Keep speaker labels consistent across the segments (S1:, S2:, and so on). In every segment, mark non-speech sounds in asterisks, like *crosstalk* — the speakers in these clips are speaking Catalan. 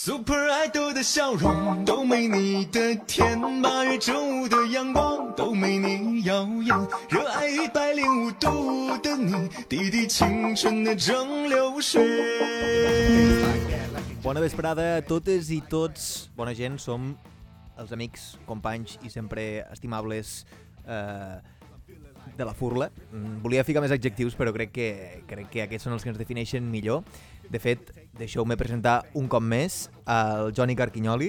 S1: Super Idol 的笑容都没你的甜，八月正午的阳光都没你耀眼，热爱一百零五度的你，滴滴青春的蒸馏水。
S2: Bona vesprada a totes i tots. Bona gent, som els amics, companys i sempre estimables eh, de la furla. Mm, Volia ficar més adjectius, però crec que, crec que aquests són els que ens defineixen millor. De fet, deixeu-me presentar un cop més el Joni Carquinyoli,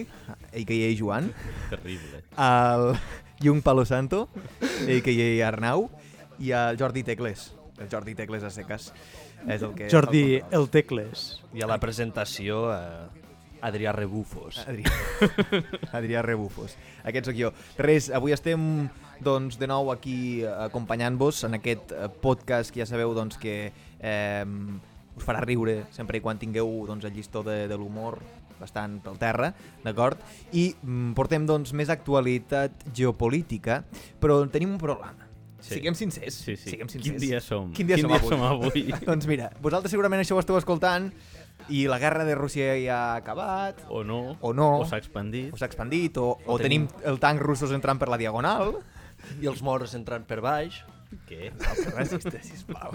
S2: a.k.a. Joan,
S3: Terrible.
S2: el Jung Palo Santo, a.k.a. Arnau, i el Jordi Tecles. El Jordi Tecles a seques. És el que
S4: Jordi, el tecles.
S3: I a la presentació, eh, Adrià Rebufos.
S2: Adrià, Adrià *laughs* Rebufos. Aquest sóc jo. Res, avui estem doncs, de nou aquí eh, acompanyant-vos en aquest eh, podcast que ja sabeu doncs, que eh, us farà riure sempre i quan tingueu doncs, el llistó de, de l'humor bastant pel terra, d'acord? I mm, portem doncs, més actualitat geopolítica, però tenim un problema.
S3: Sí.
S2: Siguem sincers.
S3: Sí, sí.
S2: Siguem sincers.
S3: Quin dia som?
S2: Quin dia,
S3: Quin
S2: som,
S3: dia
S2: avui?
S3: som avui?
S2: *laughs* doncs mira, vosaltres segurament això ho esteu escoltant i la guerra de Rússia ja ha acabat,
S3: O no.
S2: O no.
S3: O s'ha expandit.
S2: o s'ha expandit, o, o,
S3: O
S2: tenim...
S3: tenim-
S2: el tanc russos entrant per la diagonal.
S5: i els morts entrant per baix.
S3: Què?
S2: Res, hosti, sisplau.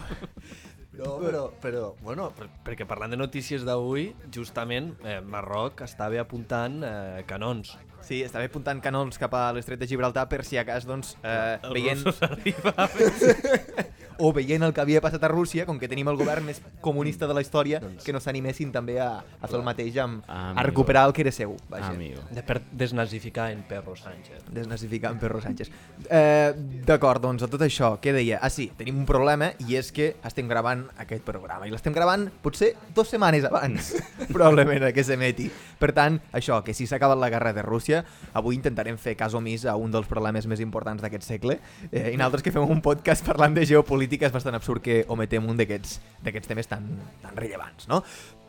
S5: No, però, però bueno, per, perquè parlant de notícies d'avui, justament eh, Marroc estava apuntant eh, canons.
S2: Sí, estava apuntant canons cap a l'estret de Gibraltar per si a cas, doncs, eh,
S3: Els
S2: veient,
S3: russos arribaven.
S2: *laughs* o veient el que havia passat a Rússia, com que tenim el govern més comunista de la història, que no s'animessin també a, a fer el mateix, amb, a
S3: Doncs Amigo.
S2: recuperar el que era seu. Vaja.
S3: Amigo.
S5: De per desnazificar en Perro Sánchez.
S2: Desnazificant Perro Sánchez. Eh, D'acord, doncs, a tot això, què deia? Ah, sí, tenim un problema i és que estem gravant aquest programa. I l'estem gravant potser dues setmanes abans, *laughs* probablement, que s'emeti. Per tant, això, que si s'ha acabat la guerra de Rússia, avui intentarem fer cas omís a un dels problemes més importants d'aquest segle. Eh, I nosaltres que fem un podcast parlant de geopolítica és bastant absurd que ometem un d'aquests d'aquests temes tan, tan rellevants, no?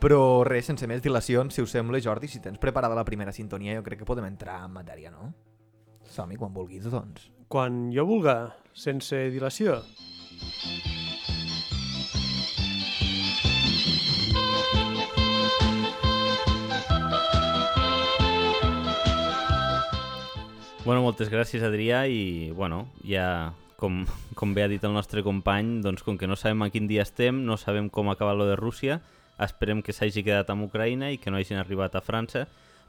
S2: Però res, sense més dilacions, si us sembla, Jordi, si tens preparada la primera sintonia, jo crec que podem entrar en matèria, no? Som-hi quan vulguis, doncs.
S4: Quan jo vulga, sense dilació.
S3: Bueno, moltes gràcies, Adrià, i bueno, ja com, *laughs* com bé ha dit el nostre company, doncs com que no sabem a quin dia estem, no sabem com ha acabat lo de Rússia, esperem que s'hagi quedat amb Ucraïna i que no hagin arribat a França,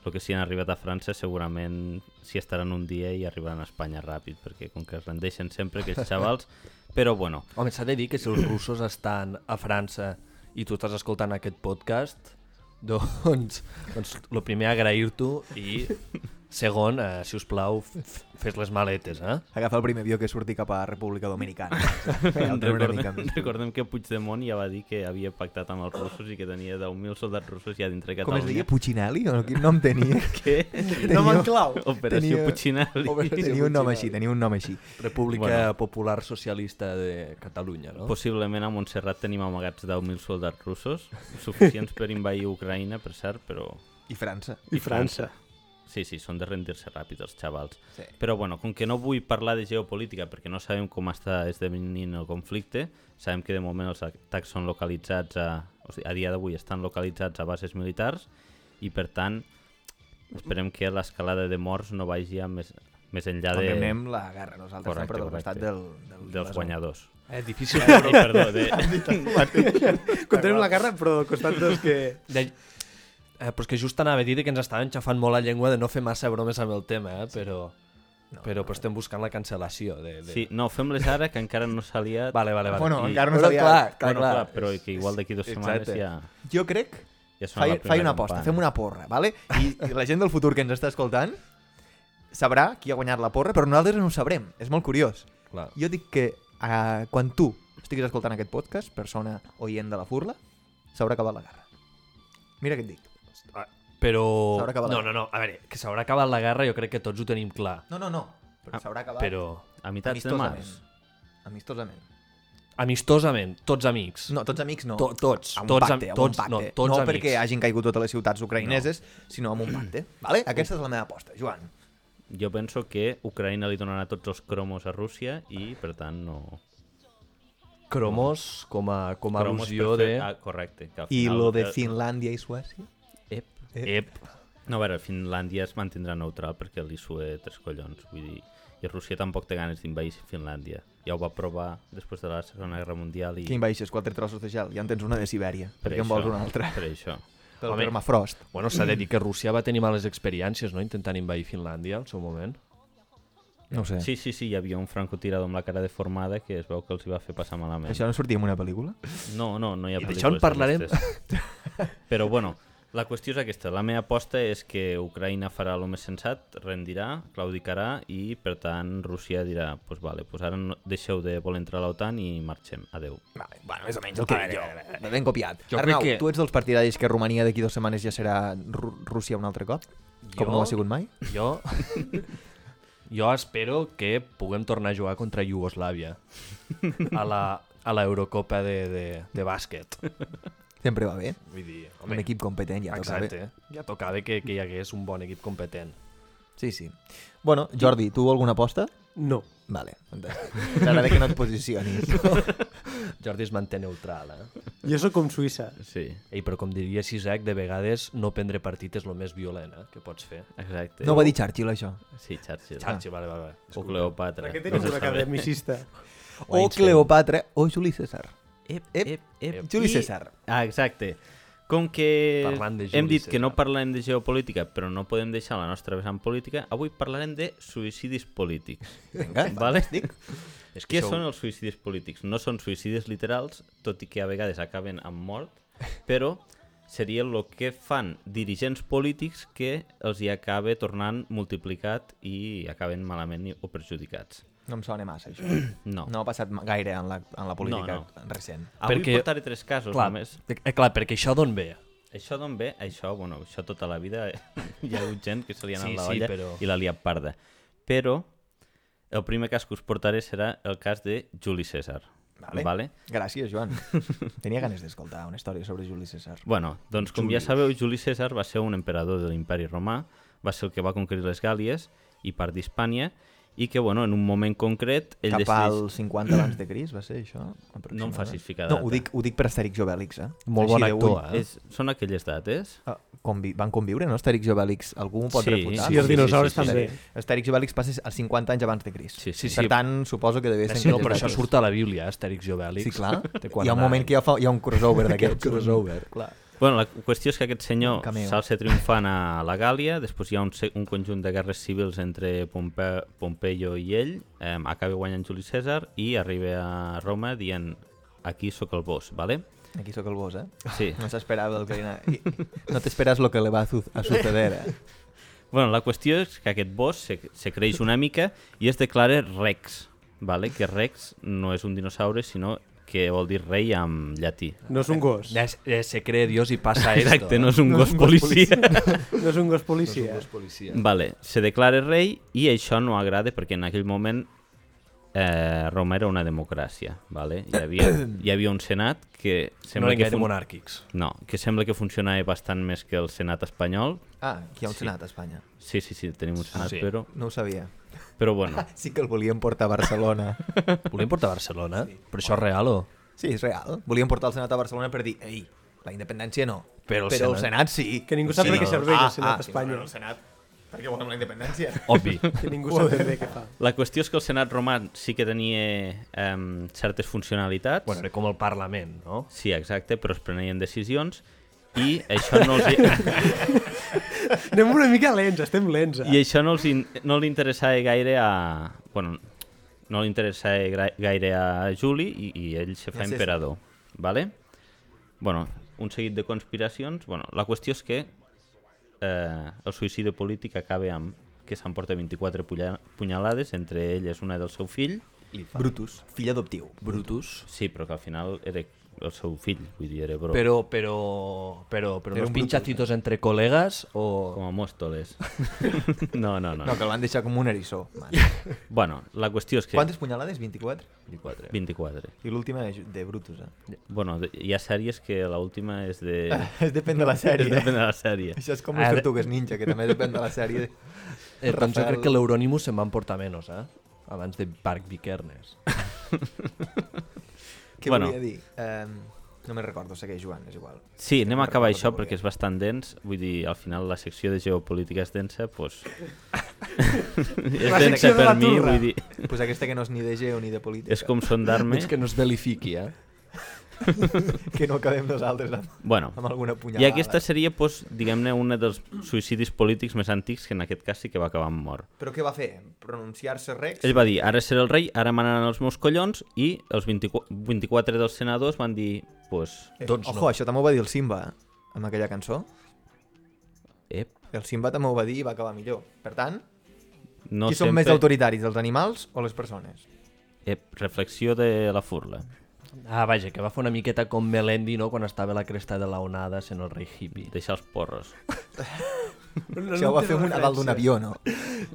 S3: el que si han arribat a França segurament s'hi estaran un dia i arribaran a Espanya ràpid, perquè com que es rendeixen sempre
S2: *laughs*
S3: aquests xavals, però bueno,
S5: Home, s'ha de dir que si els russos estan a França i tu estàs escoltant aquest podcast, *laughs* doncs, doncs el primer agrair-t'ho i segon, eh, si us plau, f- f- fes les maletes, eh?
S2: Agafa el primer avió que surti cap a República
S3: *laughs*
S2: Dominicana. Ja el treu una mica
S3: recordem,
S2: més.
S3: recordem que Puigdemont ja va dir que havia pactat amb els russos i que tenia 10.000 soldats russos ja dintre
S2: Com
S3: Catalunya.
S2: es deia? Puccinelli? O quin nom
S3: *laughs*
S2: tenia?
S3: Què?
S2: Tenia-
S3: Operació
S2: tenia-
S3: Puccinelli.
S2: Tenia un nom així, tenia un nom així.
S5: República
S3: Bueno.
S5: Popular Socialista de Catalunya, no?
S3: Possiblement a Montserrat tenim amagats 10.000 soldats russos, suficients per invair Ucraïna, per cert, però...
S2: I França.
S4: I França.
S3: Sí, sí, són de rendir-se ràpid els xavals.
S2: Sí.
S3: Però bueno, com que no vull parlar de geopolítica perquè no sabem com està esdevenint el conflicte, sabem que de moment els atacs són localitzats a... O sigui, a dia d'avui estan localitzats a bases militars i per tant esperem que l'escalada de morts no vagi a més, més enllà de,
S2: Condemnem la guerra nosaltres
S3: Correcte,
S2: sempre del
S3: correcte.
S2: costat del, del,
S3: dels guanyadors.
S2: Eh, difícil.
S3: *laughs* Ai, perdó, de,
S4: Contenem la guerra, però al costat dels que...
S5: De... Eh, però és que just anava a dir que ens estava enxafant molt la llengua de no fer massa bromes amb el tema, eh? però, no, però, però estem buscant la cancel·lació. De, de...
S3: Sí, no, fem-les ara, que encara no s'ha liat.
S5: Vale, vale, vale.
S2: Bueno,
S3: I-
S2: encara no
S5: Però
S2: sabia...
S5: clar,
S3: Bueno, clar,
S5: clar,
S3: però que igual d'aquí dues setmanes
S2: Exacte.
S3: ja,
S2: Jo crec...
S3: ja sona
S2: Fai,
S3: la primera
S2: fai una aposta,
S3: campana.
S2: fem una porra, vale? I, I la gent del futur que ens està escoltant sabrà qui ha guanyat la porra, però nosaltres no ho sabrem. És molt curiós.
S5: Clar.
S2: Jo dic que eh, quan tu estiguis escoltant aquest podcast, persona oient de la furla, s'haurà acabat la guerra. Mira què et dic.
S5: Ah, Però...
S2: S'haurà acabat la
S5: No, no, no, a veure, que s'haurà acabat la guerra jo crec que tots ho tenim clar,
S2: No, no, no. Però s'haurà acabat
S5: però
S3: A meitats de
S2: amistosament.
S3: març.
S2: Amistosament.
S5: amistosament, tots amics.
S2: No, tots amics no.
S5: To- tots,
S2: A un
S5: tots,
S2: pacte,
S5: am-
S2: a
S5: tots,
S2: un pacte.
S5: no, tots
S2: no
S5: amics.
S2: perquè hagin caigut totes les ciutats ucraïneses, no. sinó amb un pacte. Vale? Aquesta és la meva aposta, Joan.
S3: Jo penso que Ucraïna li donarà tots els cromos a Rússia i, per tant, no...
S5: Cromos com a, com a
S3: Cromos
S5: al·lusió
S3: per
S5: de...
S3: fer- Ah, correcte. Que al
S2: I
S3: final
S2: lo de
S3: el-
S2: Finlàndia i Suècia?
S3: Ep, Ep. No, a veure, Finlàndia es mantindrà neutral perquè li sue tres collons, vull dir... I Rússia tampoc té ganes d'invair Finlàndia. Ja ho va provar després de la Segona Guerra Mundial i...
S2: Que envaixes quatre trossos de gel, ja en tens una de Sibèria. Per, què en vols una altra?
S3: Per això.
S2: Pel
S5: Home.
S2: permafrost.
S5: Bueno, s'ha de dir que Rússia va tenir males experiències, no?, intentant invair Finlàndia al seu moment.
S2: No ho sé.
S3: Sí, sí, sí, hi havia un francotirador amb la cara deformada que es veu que els hi va fer passar malament.
S2: Això no sortia en una pel·lícula?
S3: No, no, no hi ha
S5: I d'això en
S3: pel·lícules
S5: parlarem.
S3: d'aquestes. *laughs* Però bueno, la qüestió és aquesta. La meva aposta és que Ucraïna farà el més sensat, rendirà, claudicarà i, per tant, Rússia dirà pues vale, pues ara no, deixeu de voler entrar a l'OTAN i marxem. Adeu.
S2: Vale, bueno, més o menys el que dic jo. Ben copiat.
S5: Jo
S2: Arnau,
S5: crec que-
S2: tu ets dels partidaris que Romania d'aquí dues setmanes ja serà Ru Rússia un altre cop? Com
S5: Jo-
S2: no ho ha sigut mai? *laughs*
S5: Jo... jo espero que puguem tornar a jugar contra Iugoslàvia a la, a la Eurocopa de, de, de bàsquet.
S2: Sempre va bé.
S5: Vull dir, home,
S2: Un equip competent ja toca bé.
S5: exacte. eh? Ja tocava que, que hi hagués un bon equip competent.
S2: Sí, sí. Bueno, Jordi, tu alguna aposta?
S4: No.
S2: Vale, fantàstic. T'agrada que no et posicionis.
S5: Jordi es manté neutral, eh?
S4: Jo sóc com Suïssa.
S3: Sí,
S5: Ei, però com diria Isaac, de vegades no prendre partit és el més violent eh, que pots fer.
S3: exacte.
S2: No ho va dir Churchill, això.
S3: Sí, Churchill.
S5: Xarxi, vale, vale, vale.
S3: O
S5: Disculpa.
S3: Cleopatra.
S4: Per què tenim
S3: No se
S4: un
S3: sap.
S4: academicista?
S2: O
S5: Einstein.
S2: Cleopatra o Juli César.
S3: Ep,
S2: Ep,
S3: ep, ep.
S2: Juli
S3: I-
S2: César.
S3: Ah, exacte. Com que
S5: Parlant de
S3: hem
S5: Juli
S3: dit que no
S5: César.
S3: parlarem de geopolítica, però no podem deixar la nostra vessant política, avui parlarem de suïcidis polítics.
S2: Vinga,
S3: Vale?
S5: És
S3: Què
S5: sou-
S3: són els suïcidis polítics? No són suïcidis literals, tot i que a vegades acaben amb mort, però seria el que fan dirigents polítics que els hi acaba tornant multiplicat i acaben malament i- o perjudicats.
S2: No em sona massa, això.
S3: No.
S2: No ha passat ma- gaire en la, en la política
S3: No,
S2: recent.
S3: Avui
S5: Perquè-
S3: perquè... portaré tres casos
S5: Clar,
S3: només.
S5: eh, clar, perquè això d'on ve?
S3: Això d'on ve? Això, bueno, això tota la vida hi ha hagut gent que se li ha anat
S5: Sí,
S3: la
S5: sí,
S3: olla
S5: però-
S3: i l'ha liat parda. Però el primer cas que us portaré serà el cas de Juli César.
S2: Vale.
S3: vale?
S2: Gràcies, Joan. Tenia ganes d'escoltar una història sobre Juli César.
S3: Bueno, doncs com ja sabeu, Juli César va ser un emperador de l'imperi romà, va ser el que va conquerir les Gàlies i part d'Hispània, i que, bueno, en un moment concret... Ell
S2: Cap
S3: decideix...
S2: al 50 abans de Cris, va ser això?
S3: No em facis ficar
S2: No,
S3: data.
S2: ho dic, ho dic per Astèrix i Obèlix, eh?
S5: Molt bon
S2: de
S5: actor,
S2: ull.
S5: eh?
S3: És, són aquelles dates?
S2: Ah, convi van conviure, no? Astèrix i Obèlix, algú m'ho pot
S3: Sí,
S2: refutar?
S4: Sí, els dinosaures
S3: sí, sí, sí.
S4: també.
S2: Astèrix i Obèlix passa als 50 anys abans de Cris.
S3: Sí, sí,
S2: per
S5: sí.
S2: tant, suposo que devia ser...
S5: Si no,
S2: aquelles
S5: però això
S2: dates.
S5: surt a la Bíblia, eh, Astèrix i Obèlix.
S2: Sí,
S5: *laughs*
S2: clar.
S5: Té
S2: Hi ha un moment que ja fa, hi ha un
S3: *laughs*
S2: crossover d'aquests.
S5: crossover.
S2: Clar.
S3: Bueno, la qüestió és que aquest senyor
S2: Cameo.
S3: s'alça triomfant a la Gàlia, després hi ha un, se- un conjunt de guerres civils entre Pompe Pompeio i ell, eh, acaba guanyant Juli César i arriba a Roma dient aquí sóc el boss, vale?
S2: Aquí sóc el boss, eh?
S3: Sí.
S2: No s'esperava el que... li ana- No t'esperes lo que le va a, su a suceder, eh?
S3: Bueno, la qüestió és que aquest boss se, se creix una mica i es declara Rex, vale? que Rex no és un dinosaure, sinó que vol dir rei en llatí.
S4: No és un gos.
S5: Ja, es- ja se cree Dios i passa esto.
S3: *laughs* Exacte,
S5: eh?
S3: no és un gos policia. *laughs*
S4: No és un gos policia.
S5: policia.
S3: Vale, se declara rei i això no agrada perquè en aquell moment eh, Roma era una democràcia. Vale? Hi,
S5: *coughs*
S3: havia, hi havia un senat que
S5: No
S3: sembla
S5: li
S3: que
S5: quedem monàrquics.
S3: no, que sembla que funcionava bastant més que el senat espanyol.
S2: Ah, aquí hi ha un
S3: Sí.
S2: senat a Espanya.
S3: Sí, sí, sí, tenim un senat,
S5: sí.
S3: sí. però,
S2: No ho sabia.
S3: però bueno.
S2: Sí que el volien portar a *laughs* Barcelona.
S5: Volien portar a Barcelona, sí. però això és real o?
S2: Sí, és real. Volien portar el Senat a Barcelona per dir, ei, la independència no.
S5: Però el
S2: però el
S5: Senat-
S2: Senat sí.
S4: Que ningú sap
S2: sí,
S4: per què serveix el Senat
S2: ah,
S4: a Espanya.
S2: sí, el Senat perquè volem la independència.
S5: Obvi.
S4: Que ningú sap ben bé què fa.
S3: La qüestió és que el senat romà sí que tenia eh, certes funcionalitats.
S5: bueno, era com el Parlament, no?
S3: Sí, exacte, però es prenien decisions i això no els... hi-
S2: *laughs*
S4: Anem una mica lents, estem lents.
S3: I
S4: Eh?
S3: això no, els in, no li interessava gaire a... Bueno, no li interessava gra- gaire a Juli i, i ell se fa
S2: Ja sé, sí.
S3: emperador. Vale? Bueno, un seguit de conspiracions. Bueno, la qüestió és que eh, el suïcidi polític acaba amb que s'emporta 24 pulla- punyalades, entre elles una del seu fill.
S2: Brutus, fill adoptiu.
S5: Brutus.
S3: Sí, però que al final era el seu fill, vull dir, era bro, però...
S5: Però, però, però, però
S2: Era
S5: no
S2: un
S5: pinxatitos entre col·legues o...
S3: com a Mòstoles. no, no, no.
S2: No, que el van deixar com un erissó. Man.
S3: Bueno, la qüestió és que...
S2: Quantes punyalades? 24?
S5: 24.
S3: 24.
S2: I l'última és de Brutus, eh?
S3: Bueno, de- hi ha sèries que l'última és de...
S2: *laughs* Es depèn de la
S3: És
S2: sèrie.
S3: depèn Ah, de la sèrie.
S2: Això és com les
S5: Ara-
S2: tortugues ninja, que també depèn de la sèrie.
S5: Eh, doncs jo
S2: Rafael.
S5: crec que l'Euronimus se'n va emportar menys, eh? Abans de Parc Vikernes.
S2: Què
S3: Bueno.
S2: volia dir? Um, No me'n recordo, segueix jugant, és igual.
S3: Sí, anem a
S2: me'n
S3: acabar
S2: recordo
S3: això
S2: molt bé.
S3: perquè és bastant dens. Vull dir, al final la secció de geopolítica és densa, doncs... és
S4: La
S3: densa
S4: secció de
S3: per
S4: la
S3: mi,
S4: turra.
S3: vull dir...
S2: *laughs* Pues aquesta que no és ni de geo ni de política.
S3: És com sondar-me.
S5: Menys que no es belifiqui, eh?
S2: Que no acabem nosaltres amb,
S3: Bueno,
S2: amb alguna punyalada.
S3: i aquesta seria, doncs, diguem-ne, una dels suïcidis polítics més antics, que en aquest cas sí que va acabar amb mort.
S2: Però què va fer? Pronunciar-se rex?
S3: Ell va dir, ara seré el rei, ara manaran els meus collons, i els 24, 24 dels senadors van dir, pues,
S2: Eh,
S5: Doncs
S2: Ojo,
S5: no.
S2: això també ho va dir el Simba, eh, amb aquella cançó.
S3: ep,
S2: El Simba també ho va dir i va acabar millor. Per tant,
S3: no
S2: qui
S3: sempre...
S2: són més autoritaris, els animals o les persones?
S3: Ep, reflexió de la furla.
S5: Ah, vaja, que va fer una miqueta com Melendi, no?, quan estava a la cresta de la onada sent el rei hippie.
S3: Deixar els porros.
S4: No,
S2: Això ho va
S4: entenc
S2: fer
S4: la
S2: un a dalt d'un
S4: referència.
S2: avió, no?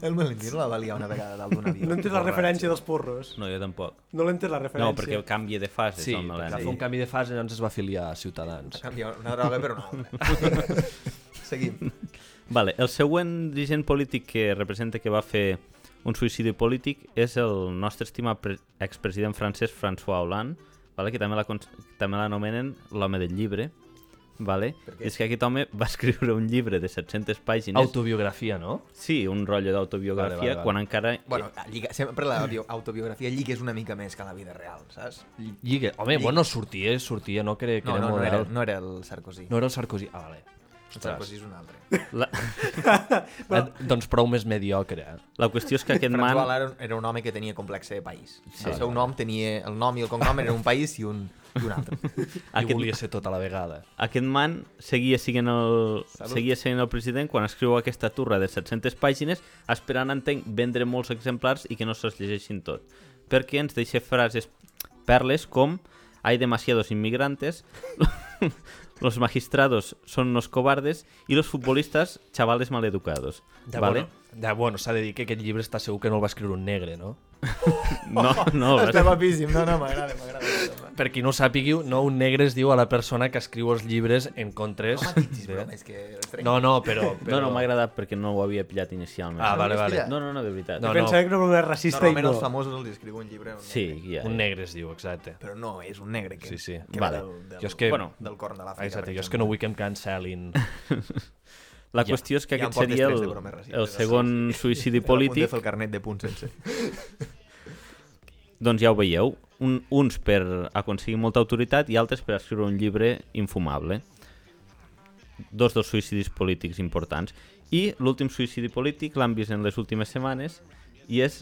S2: El Melendino la va liar una vegada a dalt d'un avió.
S4: No entens la referència dels porros.
S3: No, jo tampoc.
S4: No l'entens la referència.
S3: No, perquè canvia de fase,
S5: Sí,
S3: el
S5: va
S3: Melendi.
S5: fer un canvi de fase i llavors es va afiliar a Ciutadans.
S2: Canvia una droga, però
S3: *laughs*
S2: no. Seguim.
S3: Vale, el següent dirigent polític que representa que va fer un suïcidi polític és el nostre estimat pre- expresident francès François Hollande, vale? que també la cons- també l'anomenen l'home del llibre. Vale?
S2: què?
S3: I és que aquest home va escriure un llibre de 700 pàgines.
S5: Autobiografia, no?
S3: Sí, un rotllo d'autobiografia,
S5: Vale, vale, vale.
S3: quan encara...
S2: Bueno, lliga, sempre la bio- autobiografia lliga és una mica més que la vida real, saps?
S5: Lligue. Home,
S2: Lligue.
S5: bueno, sortia, sortia, no crec que
S2: No,
S5: era
S2: no, no, era,
S5: model.
S2: no era el Sarkozy.
S5: No era el Sarkozy. Ah, vale.
S2: el
S5: Ostres.
S2: Sarkozy és un altre.
S3: La,
S5: Ah, doncs prou més mediocre. eh?
S3: la qüestió és que aquest
S2: François
S3: man...
S2: Hollande era un home que tenia complexe de país. El seu nom tenia... El nom i el cognom era un país i un, i un *laughs* altre.
S5: I
S3: Aquest-
S5: volia ser tot a la vegada.
S3: Aquest man seguia sent el, seguia sent el president quan escriu aquesta turra de 700 pàgines esperant, entenc, vendre molts exemplars i que no se'ls llegeixin tot. Perquè ens deixa frases perles com hay demasiados inmigrantes, *laughs* los magistrados son unos cobardes y los futbolistas chavales maleducados. ¿Vale?
S5: Bueno, de, bueno s'ha de dir que aquest llibre està segur que no el va escriure un negre, no?
S3: No, no,
S5: *laughs*
S2: Estem apíssim. No, no, m'agrada, m'agrada.
S5: Per qui no ho sàpiguiu, no un negre es diu a la persona que escriu els llibres en contres...
S2: Home, titis,
S5: de-
S2: broma, és que...
S5: No, no, però... però...
S3: no, no m'ha agradat perquè no ho havia pillat inicialment.
S5: Ah, vale, vale.
S3: No, no, no, de veritat.
S5: No,
S4: No,
S5: no.
S4: Pensava que era una racista i
S2: Normalment
S4: no.
S2: els famosos els escriu un llibre. Un
S3: Sí, ja,
S5: Un
S3: ja.
S5: negre es diu, exacte.
S2: Però no, és un negre que,
S5: Sí, sí.
S2: que Ah, va
S3: Vale.
S2: del, del,
S5: Jo és que...
S3: Bueno,
S2: del corn de l'Àfrica.
S5: Exacte,
S2: per
S5: jo és que no vull que em
S3: *laughs*
S5: cancel·lin.
S3: La
S5: Ja.
S3: qüestió és que
S2: Hi ha un
S3: aquest
S2: poc
S3: seria
S2: d'estrès
S3: el,
S2: de bromes racistes,
S3: el
S2: això
S3: segon
S2: *laughs* exemple. Era a punt de
S3: suïcidi polític
S2: fer el carnet de punts sense.
S3: Doncs ja ho veieu, un, uns per aconseguir molta autoritat i altres per escriure un llibre infumable. Dos dels suïcidis polítics importants. I l'últim suïcidi polític l'han vist en les últimes setmanes i és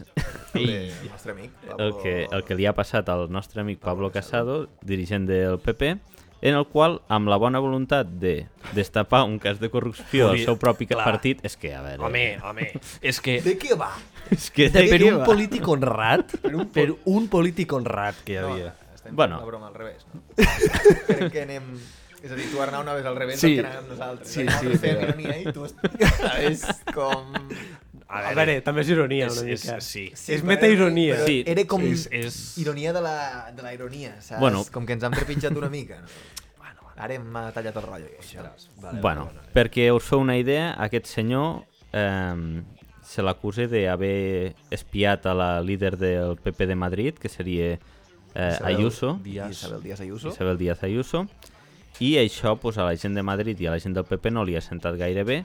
S2: Ei. El nostre amic.
S3: *laughs* el que, el que li ha passat al nostre amic Pablo Casado, dirigent del PP, en el qual, amb la bona voluntat de destapar un cas de corrupció al
S5: Ui,
S3: seu propi
S5: clar.
S3: partit, és que, a veure...
S5: Home, home, és que...
S2: De què va?
S3: és que,
S5: De, per
S3: què
S5: un
S3: va?
S5: polític honrat, per un, per un polític honrat que hi havia.
S2: estem
S3: Bueno.
S2: fent la broma al revés, no? Crec que anem... És a dir, tu Arnau anaves al revés
S5: Sí.
S2: del que anàvem nosaltres. Sí,
S5: Sí,
S2: sí,
S5: sí,
S2: sí. Fem
S5: però-
S2: ironia i tu... *laughs* És com...
S5: A
S4: A veure, també és ironia
S5: és-
S4: una
S5: és-
S4: mica.
S5: sí.
S4: És metaironia.
S2: Però
S3: Sí.
S2: Era com
S5: És- és-
S2: ironia de la, de la ironia, saps?
S3: Bueno.
S2: Com que ens han trepitjat una mica. No? Ara hem eh, tallat el rotllo, això.
S5: Vale,
S3: bueno, perquè us feu una idea, aquest senyor eh, se l'acusa d'haver espiat a la líder del PP de Madrid, que seria eh,
S2: Isabel
S3: Ayuso,
S5: Díaz.
S2: Isabel Díaz Ayuso.
S3: Isabel Díaz Ayuso, i això pues, a la gent de Madrid i a la gent del PP no li ha sentat gaire bé,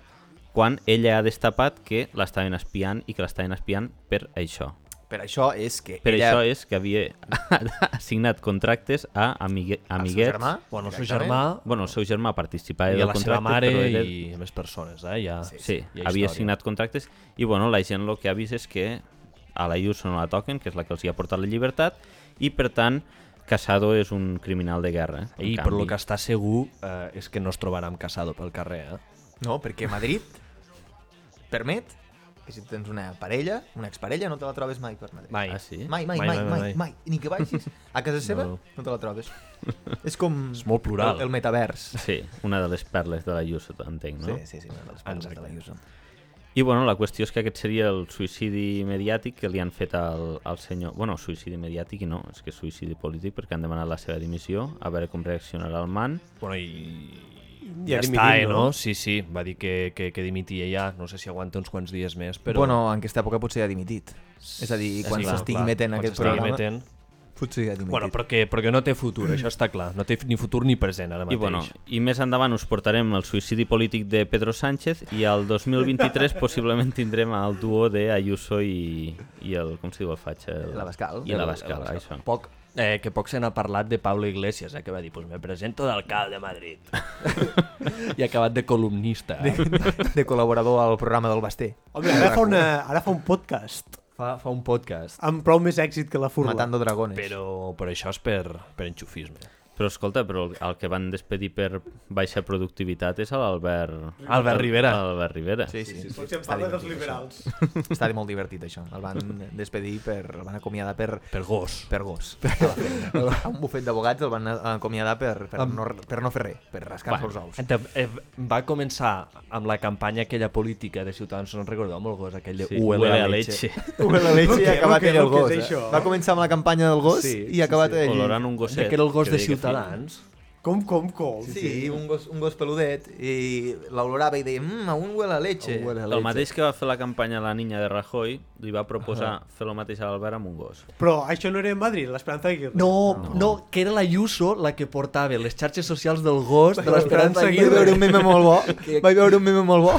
S3: quan ella ha destapat que l'estaven espiant i que l'estaven espiant per això.
S2: Per això és que
S3: Per
S2: ella...
S3: això és que havia *laughs* assignat contractes a amigue,
S2: el seu
S3: amiguets.
S2: germà,
S5: Bueno, el seu
S2: directament.
S5: germà
S3: Bueno, el seu germà participava
S5: i
S3: del
S5: la
S3: contracte,
S5: seva mare
S3: però ella...
S5: i més persones, eh? Ja,
S3: Ah, Sí,
S5: hi ha
S3: havia
S5: història.
S3: signat contractes i bueno, la gent el que ha vist és que a la Ayuso no la toquen, que és la que els hi ha portat la llibertat i per tant Casado és un criminal de guerra. eh, en
S5: Ei,
S3: canvi.
S5: però el que està segur eh, és que no es trobarà amb Casado pel carrer, eh?
S2: No, perquè Madrid permet que si tens una parella, una exparella, no te la trobes mai per Madrid.
S5: Mai.
S3: Ah, sí?
S2: Mai, mai, mai, mai, mai, mai. Ni que vagis a casa seva,
S5: No.
S2: no, no te la trobes. És com... És
S5: molt plural.
S2: El, el metavers.
S3: Sí, una de les perles de la Ayuso, entenc, no?
S2: Sí, sí, sí, una de les coses de la Ayuso.
S3: I bueno, la qüestió és que aquest seria el suïcidi mediàtic que li han fet al, al senyor... Bueno, suïcidi mediàtic i no, és que és suïcidi polític perquè han demanat la seva dimissió, a veure com reaccionarà el man.
S5: Bueno, i... Ja,
S4: Ja
S5: ja
S4: dimitim,
S5: està, eh,
S4: no?
S5: no? Sí, sí, va dir que, que, que dimitia ja, no sé si aguanta uns quants dies més,
S2: Però...
S5: però...
S2: Bueno, en aquesta època potser ha dimitit. És a dir, quan
S5: clar,
S2: s'estigui
S5: clar,
S2: metent
S5: quan
S2: en aquest
S5: s'estigui
S2: programa...
S5: metent,
S2: Potser ja t'ho
S5: Bueno, perquè, perquè no té futur, això està clar. No té ni futur ni present ara
S3: I,
S5: mateix.
S3: bueno, I més endavant us portarem el suïcidi polític de Pedro Sánchez i al
S5: *laughs*
S3: 2023 possiblement tindrem el duo de Ayuso i, i el, com se diu el Fatxa? El-
S2: L'Abascal.
S3: I l'Abascal,
S2: L'Abascal.
S3: això.
S5: Poc, eh, que poc se n'ha parlat de Pablo Iglesias, eh, que va dir, pues me presento d'alcalde de *laughs* Madrid. I ha acabat de columnista. Eh?
S2: De, de col·laborador al programa del Basté.
S4: Home, ara fa, una, ara fa un podcast
S5: Fa, fa un podcast.
S4: amb prou més èxit que la furla.
S2: Matando dragones.
S5: Però, però això és per, per enxufisme.
S3: Però escolta, però el- el que van despedir per baixa productivitat és l'Albert...
S5: Albert Rivera.
S3: L'Albert Rivera.
S2: Sí, sí. sí, sí.
S4: Potser em parla dels liberals.
S2: *laughs* Està molt divertit, això. El van despedir per... El van acomiadar per...
S5: Per gos.
S2: per gos. A un bufet d'abogats el van acomiadar per, per, no, per no fer res, per rascar-se els ous.
S5: Ente- eh, Va començar amb la campanya aquella política de Ciutadans, no en recordeu amb el gos, aquell de
S3: Sí,
S5: UL,
S3: huele a
S5: leche.
S3: leche.
S2: La leche i ha acabat ell el gos.
S4: és
S2: Eh?
S4: això?
S2: Va començar amb la campanya del gos
S5: Sí,
S2: i ha acabat ell.
S3: Olorant un gosset.
S5: Que era el gos de
S3: deia que
S5: Ciutadans.
S4: Com, com, com?
S2: Sí, un gos, un gos peludet i l'olorava i deia, mmm, a un huele a leche.
S5: Un huele a
S3: El mateix que va fer la campanya la niña de Rajoy, li va proposar fer el mateix a l'Albert amb un gos.
S4: Però això no era en Madrid, l'Esperanza Aguirre.
S5: No, no, no, que era la Yuso la que portava les xarxes socials del gos de l'Esperança
S2: Vaig veure un
S5: Aguirre.
S2: meme molt
S5: *laughs*
S2: bo. Vaig veure un meme molt bo.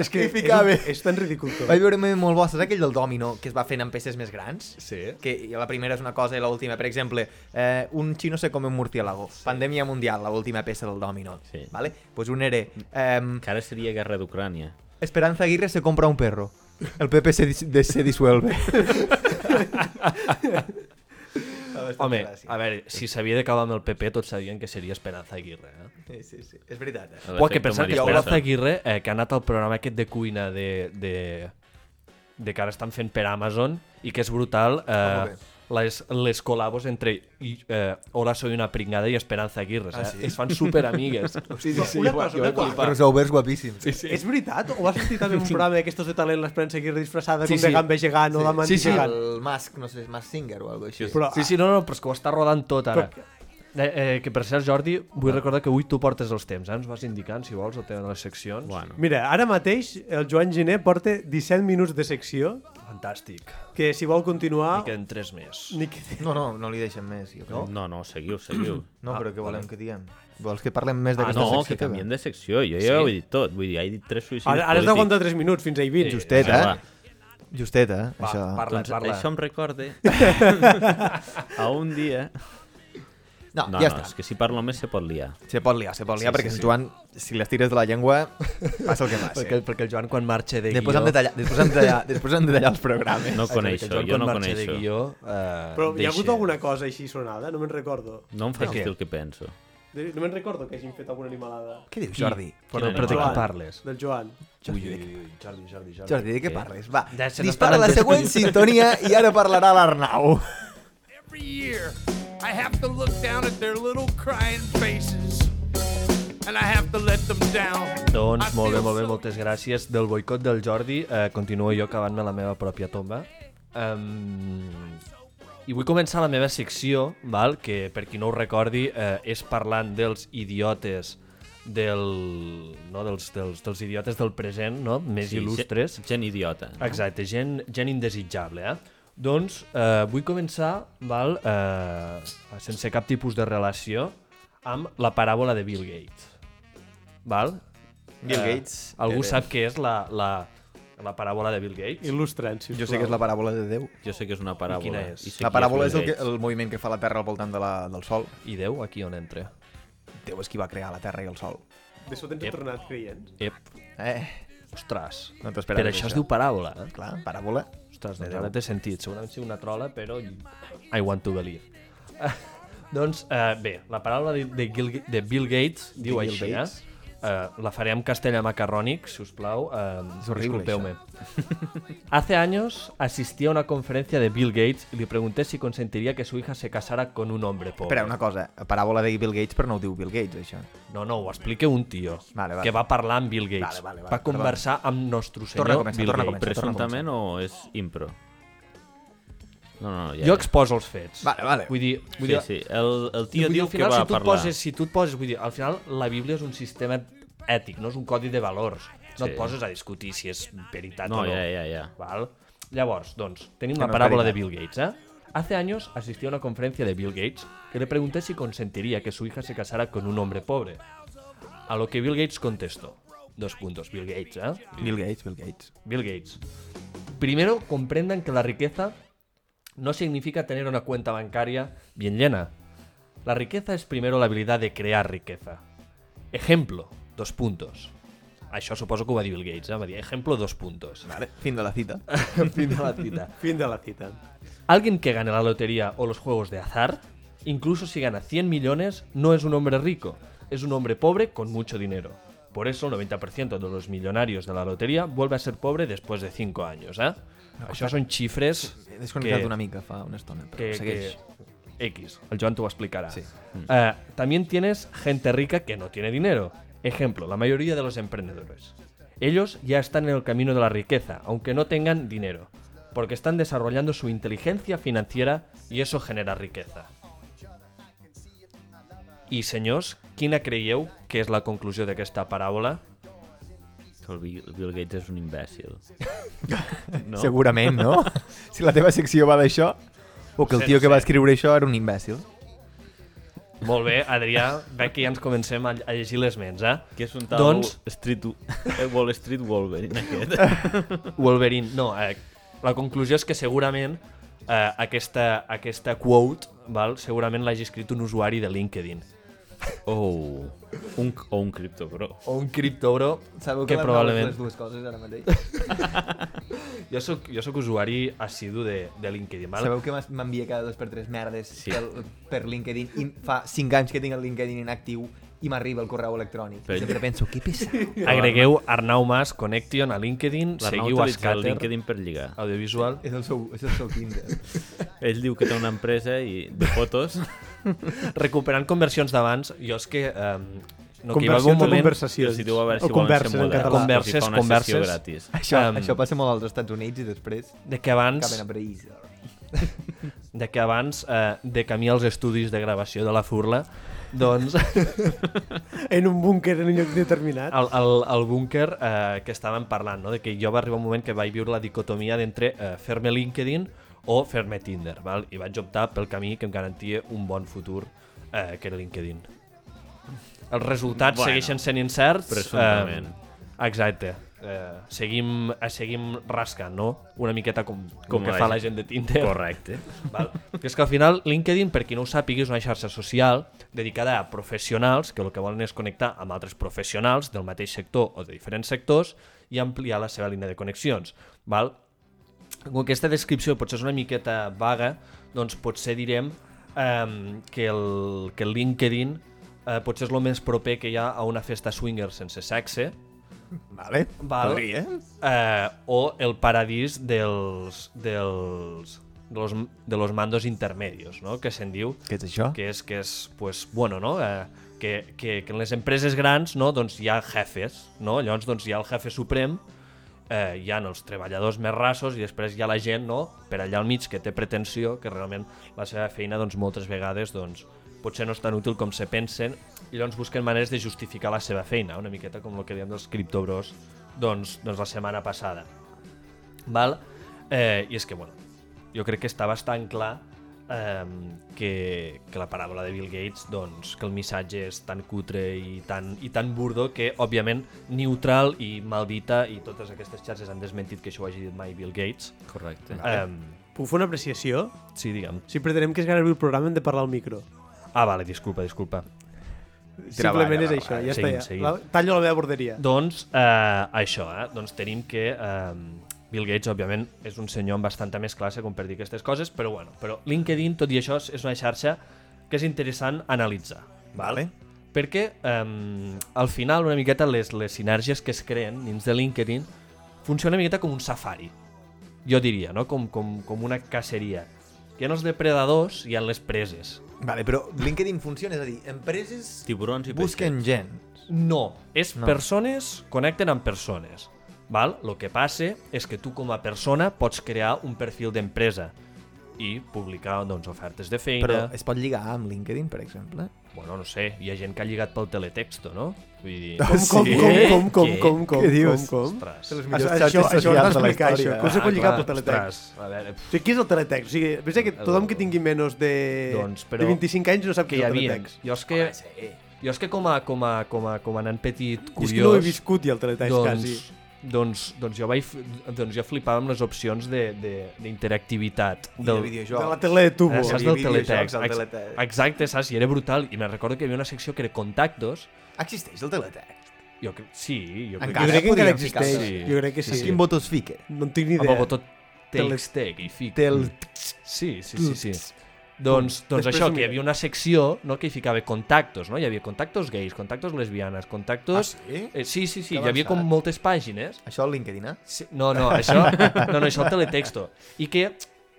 S4: és
S2: Hi
S4: que és,
S2: ficava.
S4: un, és tan ridícul tot.
S2: Vaig veure un meme molt bo. Saps aquell del domino que es va fent en peces més grans?
S5: Sí.
S2: Que la primera és una cosa i l'última. Per exemple, eh, un xino se come un murciélago. Pandèmia mundial, l'última peça del domino.
S3: Sí.
S2: Vale? Pues un era... Eh,
S3: Que ara seria guerra d'Ucrània.
S2: Esperanza Aguirre se compra un perro. El PP se, dis de- se
S3: *laughs*
S2: disuelve.
S5: Home, a veure, si s'havia d'acabar amb el PP, tots sabien que seria Esperanza Aguirre. Eh?
S2: Sí, sí, sí. És veritat, eh?
S5: Pua, que pensar que
S3: L'efecte Maria
S5: Esperanza
S3: Esperanza.
S5: Aguirre, eh, que ha anat al programa aquest de cuina de, de, de que ara estan fent per Amazon i que és brutal
S2: Ah,
S5: eh,
S2: molt bé.
S5: les, les col·labos entre i, eh, Hola soy una pringada i Esperanza Aguirre. Ah,
S2: sí?
S5: Es fan superamigues.
S2: Sí, sí, sí.
S4: Una cosa, una cosa.
S2: Però Sauber és guapíssim. Sí,
S4: Sí. És veritat? O va sortir
S2: *laughs*
S4: també un programa d'aquestos de talent l'Esperança Aguirre disfressada sí, com de
S5: sí.
S4: gamba gegant o de manta
S5: Sí, sí.
S4: gegant?
S2: El Musk, no sé, Musk Singer o algo així.
S4: Però,
S5: Sí, sí, no, no, però és que ho està rodant tot ara.
S4: Però-
S5: Eh, eh, que per cert, Jordi, vull recordar que avui tu portes els temps, eh? ens vas indicant, si vols, el tema de les seccions.
S3: Bueno.
S4: Mira, ara mateix el Joan Giné porta 17 minuts de secció
S5: Fantàstic.
S4: que si vol continuar...
S5: I queden tres més.
S4: Ni que...
S2: No, no, no li deixen més, jo crec.
S3: No, no, seguiu,
S5: *clears throat*
S3: seguiu.
S2: No, però què volem que diguem? Vols que parlem més
S3: Ah,
S2: d'aquesta
S3: no,
S2: secció?
S3: que canviem de secció. Jo
S5: Sí?
S3: ja ho he dit tot. Vull dir, ja he dit tres suïcidis
S4: Ara, ara has
S3: polítics.
S4: d'aguantar 3 minuts, fins a 20. Just.
S2: Justet,
S3: Vinga, va.
S2: eh? Justet, eh?
S5: Va,
S2: Això.
S5: parla,
S3: Doncs
S5: parla.
S3: això em recorda
S5: *laughs*
S3: a un dia...
S2: No,
S3: No,
S2: ja
S3: no,
S2: està.
S3: és que si parlo més se pot liar.
S2: Se pot liar, se pot liar, perquè en Joan, si les tires de la llengua, passa el que passa.
S5: Perquè, perquè el Joan quan marxa de
S2: Després
S5: guió...
S2: hem de tallar, després hem de tallar, després hem de tallar els programes.
S5: Exacte,
S3: No
S5: que
S3: coneixo,
S5: el Joan
S3: jo no
S5: quan marxa
S3: coneixo.
S5: De guió, eh,
S4: Però hi ha hagut
S5: deixa-
S4: alguna cosa així sonada? No me'n recordo.
S3: No em faig
S5: què?
S3: dir el que penso.
S4: De- No me'n recordo que hagin fet alguna animalada.
S2: Què dius, Jordi?
S5: Però,
S3: Quin
S5: però de què
S4: animal?
S5: parles?
S4: Del Joan.
S5: Ui, ui, ui, Jordi, Jordi, Jordi.
S2: Jordi, Eh? de què parles? Va,
S5: Ja se
S2: dispara
S5: n'estaran
S2: la següent sintonia i ara parlarà l'Arnau.
S6: Every year, I have to look down at their little crying faces, and I have to let them down.
S5: Doncs molt bé, molt bé, moltes gràcies. Del boicot del Jordi eh, continuo jo cavant-me la meva pròpia tomba. Um, I vull començar la meva secció, val? que per qui no ho recordi eh, és parlant dels idiotes del, no, dels, dels, dels idiotes del present, no? més
S3: Sí,
S5: sí, il·lustres.
S3: Gent, gent idiota.
S5: Exacte, gent, gent indesitjable, eh? Doncs eh, vull començar, val, eh, sense cap tipus de relació, amb la paràbola de Bill Gates. Val? Eh,
S2: Bill Gates, eh,
S5: Algú
S2: que
S5: sap què és la, la, la paràbola de Bill Gates?
S4: Il·lustra'ns, sisplau.
S2: Jo sé que és la paràbola de Déu.
S3: Jo sé que és una paràbola.
S5: quina és?
S3: I sé
S2: La
S3: qui
S2: paràbola és
S3: Bill
S2: el, que,
S3: Gates.
S2: el moviment que fa la Terra al voltant de la, del Sol.
S5: I Déu, aquí on entra.
S2: Déu és qui va crear la Terra i el Sol.
S4: De sobte ens
S5: Ep.
S4: hem tornat creients.
S5: Ep,
S2: Eh,
S5: ostres.
S2: no t'ho
S5: Per
S2: esperaves.
S5: això es diu paràbola, eh?
S2: Clar, paràbola.
S5: Ostres, doncs ara té sentit. Segurament sigui una trola, però I want to believe. *laughs* doncs, eh, bé, la paraula de, de, Gil, de Bill Gates diu
S2: Bill
S5: així,
S2: Gates.
S5: eh? Eh, la faré en castellà macarrònic, si us plau. Eh,
S2: És horrible,
S5: disculpeu-me. Hace años asistí a una conferencia de Bill Gates y le pregunté si consentiría que su hija se casara con un hombre pobre.
S2: Espera, una cosa. Paràbola de Bill Gates, però no ho diu Bill Gates, això.
S5: No, no, ho explica un tio
S2: Vale, vale.
S5: que va parlar amb Bill Gates.
S2: Vale, vale, vale,
S5: va conversar amb nostre senyor
S2: Torna a començar,
S5: Bill
S2: torna a
S5: Gates.
S2: començar.
S3: Presumptament o és impro? No, no, no, ja.
S5: Jo exposo els fets.
S2: Vale, vale.
S5: Vull dir, vull
S3: Sí,
S5: dir
S3: sí. El, el
S5: Vull
S3: tio
S5: dir,
S3: diu
S5: al
S3: que
S5: final,
S3: va
S5: si tu et
S3: parlar.
S5: Poses, si tu et poses, vull dir, al final la Bíblia és un sistema ètic, no és un codi de valors. No
S3: Sí.
S5: et poses a discutir si és veritat
S3: No,
S5: o no.
S3: ja, ja, ja.
S5: Val? Llavors, doncs, tenim
S2: Que
S5: la
S2: no és
S5: paràbola de
S2: veritat.
S5: Bill Gates, eh? Hace años asistió a una conferencia de Bill Gates que le pregunté si consentiría que su hija se casara con un hombre pobre. A lo que Bill Gates contestó. Dos puntos, Bill Gates, ¿eh?
S4: Bill Gates, Bill Gates.
S5: Bill Gates. Primero, comprendan que la riqueza no significa tener una cuenta bancaria bien llena. La riqueza es primero la habilidad de crear riqueza. Ejemplo, dos puntos. Això suposo que ho va dir Bill Gates, eh? va dir ejemplo, dos puntos.
S2: Vale, fin de la cita.
S5: *laughs* fin de la cita.
S4: Fin de la cita.
S5: Alguien que gane la lotería o los juegos de azar, incluso si gana 100 millones, no es un hombre rico, es un hombre pobre con mucho dinero. Por eso el 90% de los millonarios de la lotería vuelve a ser pobre después de 5 años, eh? Això són xifres
S2: He
S5: que-
S2: desconnectat una mica fa una estona, però
S5: que,
S2: segueix.
S5: que- X, el Joan te lo explicará.
S2: Sí.
S5: Eh, también tienes gente rica que no tiene dinero. Ejemplo, la mayoría de los emprendedores. Ellos ya están en el camino de la riqueza, aunque no tengan dinero, porque están desarrollando su inteligencia financiera y eso genera riqueza. I senyors, quina creieu que és la conclusió d'aquesta paràbola?
S3: Que el Bill Bill Gates és un imbècil.
S2: No. Segurament, *laughs* no? si la teva secció va d'això... O que el
S5: sé,
S2: tio
S5: no
S2: que
S5: sé.
S2: va escriure això era un imbècil.
S5: Molt bé, Adrià, veig que ja ens comencem a a llegir les ments, eh?
S3: Que és un tal
S5: Doncs-
S3: Street, eh, Wall Street Wolverine aquest.
S5: Wolverine, no, eh, la conclusió és que segurament eh, aquesta, aquesta quote val, segurament l'hagi escrit un usuari de LinkedIn
S3: Oh, un, o un cripto, però.
S5: o un criptobro que, probablement...
S2: dues coses ara mateix.
S5: Jo soc, jo soc usuari assidu de, de LinkedIn, val?
S2: Sabeu que m'es- m'envia cada dos per tres merdes
S3: Sí.
S2: sí. pel, per LinkedIn i fa cinc anys que tinc el LinkedIn inactiu i m'arriba el correu electrònic.
S3: Però-
S2: I sempre penso, què pesa?
S5: Agregueu Arnau Mas Connection a LinkedIn,
S3: L'Arnau
S5: seguiu a
S3: utilitza el
S5: Scatter,
S3: LinkedIn per lligar.
S5: audiovisual.
S2: és el seu, és el seu 15.
S3: Ell diu que té una empresa i de fotos.
S5: Recuperant conversions d'abans, jo és que... Eh, no, que hi va haver un
S4: Conversions o
S5: moment...
S4: conversacions?
S3: Si diu a veure
S4: o
S3: si volen ser
S4: converses en
S3: moderns.
S4: català.
S5: Conver-
S3: o si fa una
S5: Converses,
S3: sessió
S5: converses.
S3: gratis.
S2: Això,
S5: Em,
S2: um, això passa molt als Estats Units i després
S5: De que abans...
S2: acaben a París.
S5: de que abans, eh, de camí als estudis de gravació de la Furla, doncs
S4: En un búnquer en un lloc determinat.
S5: el, el, el búnquer eh, que estàvem parlant, no? de que jo va arribar un moment que vaig viure la dicotomia d'entre eh, fer-me LinkedIn o fer-me Tinder, val? i vaig optar pel camí que em garantia un bon futur, eh, que era LinkedIn. Els resultats bueno,
S3: Bueno,
S5: segueixen sent incerts.
S3: presumptament.
S5: Eh, exacte. Eh, seguim, eh, seguim rascant, no? Una miqueta com, com,
S3: Com
S5: com que
S3: la
S5: fa
S3: gent.
S5: la gent de Tinder.
S3: Correcte.
S5: Val. Que és que al final LinkedIn, per qui no ho sàpiga, és una xarxa social dedicada a professionals que el que volen és connectar amb altres professionals del mateix sector o de diferents sectors i ampliar la seva línia de connexions. Val? Com aquesta descripció potser és una miqueta vaga, doncs potser direm eh, que, el, que el LinkedIn eh, potser és el més proper que hi ha a una festa swinger sense sexe,
S2: Vale,
S5: Val.
S2: podria.
S5: eh, o el paradís dels, dels, dels, de los mandos intermedios, no? que se'n diu,
S2: Què és això?
S5: que és, que és pues, bueno, no? Eh, que, que, que en les empreses grans no? doncs hi ha jefes, no? llavors doncs, hi ha el jefe suprem, eh, hi ha els treballadors més rassos i després hi ha la gent no? per allà al mig que té pretensió, que realment la seva feina doncs, moltes vegades doncs, potser no és tan útil com se pensen i llavors busquen maneres de justificar la seva feina, una miqueta com el que diem dels criptobros doncs, doncs la setmana passada. Val? Eh, I és que, bueno, jo crec que està bastant clar eh, que, que la paràbola de Bill Gates, doncs, que el missatge és tan cutre i tan, i tan burdo que, òbviament, neutral i maldita i totes aquestes xarxes han desmentit que això ho hagi dit mai Bill Gates.
S3: Correcte.
S5: Eh,
S4: Puc fer una apreciació?
S5: sí, digue'm.
S4: Si pretenem que és gairebé el programa, hem de parlar al micro.
S5: Ah, vale, disculpa, disculpa.
S4: Simplement és
S2: va,
S4: això,
S2: va,
S4: ja
S5: seguim,
S4: està.
S5: seguim.
S4: Ja. La, tallo la meva borderia.
S5: Doncs eh, això, eh? doncs tenim que eh, Bill Gates, òbviament, és un senyor amb bastanta més classe com per dir aquestes coses, però bueno, però LinkedIn, tot i això, és- és una xarxa que és interessant analitzar. Val?
S2: Vale.
S5: Perquè eh, al final una miqueta les, les sinergies que es creen dins de LinkedIn funciona una miqueta com un safari, jo diria, no? com, com, com una caceria. Hi ha els depredadors i hi ha les preses.
S2: Vale, però LinkedIn funciona, és a dir, empreses
S3: Tiburons i
S2: busquen
S3: peixets.
S2: gent.
S5: No, és
S2: No.
S5: no. persones connecten amb persones. Val? Lo que passa és que tu com a persona pots crear un perfil d'empresa i publicar doncs, ofertes de feina.
S2: Però es pot lligar amb LinkedIn, per exemple?
S5: Bueno, no sé, hi ha gent que ha lligat pel teletexto, no? Vull dir...
S4: Com, com,
S5: Sí?
S4: com, com, com,
S5: Què?
S4: com, com,
S2: Què dius?
S4: com, Ah, com?
S5: Ostres.
S2: Els
S4: Això, això, això ho has d'explicar, això. Com se pot lligar pel teletext?
S5: Ostres, a veure, pff,
S4: O sigui, què és el teletext? O sigui, pensa que tothom que tingui menys de,
S5: Doncs, però-
S4: de 25 anys no sap
S5: que
S4: què
S5: hi
S4: és el
S5: havia.
S4: teletext.
S5: Jo és que... Jo és que com a, com a, com a, com a nen petit,
S4: I
S5: curiós...
S4: és que no ho he viscut, i el teletext,
S5: doncs,
S4: quasi.
S5: doncs, doncs, jo vaig, f- doncs jo flipava amb les opcions de- de- d'interactivitat.
S2: Del...
S5: De,
S4: De la tele de tubo.
S5: eh, saps
S2: hi
S5: del
S2: havia
S5: teletext?
S2: videojocs al
S5: Ex-
S2: teletext.
S5: Exacte, saps? I era brutal. I me recordo que hi havia una secció que era contactos.
S2: Existeix el teletext?
S5: Jo, cre- sí, jo crec
S4: Jo
S2: Encara
S4: crec que encara
S2: podríem
S4: existeix.
S5: ficar-se.
S4: Jo crec que sí.
S5: Sí.
S2: Quin voto es fica?
S4: No en tinc ni
S5: que...
S4: idea.
S5: A poco tot telestec i fic. Sí, sí, sí, sí. Doncs, doncs
S4: Després
S5: això,
S4: ho
S5: que hi havia una secció no, que hi ficava contactos, no? Hi havia contactos gais, contactos lesbianes, contactos...
S2: Ah, sí?
S5: Eh, sí, sí, sí,
S2: Que
S5: hi havia com
S2: avançat.
S5: moltes pàgines.
S2: Això al LinkedIn, eh?
S5: Sí, no, no, això, no, no, això el teletexto. I que,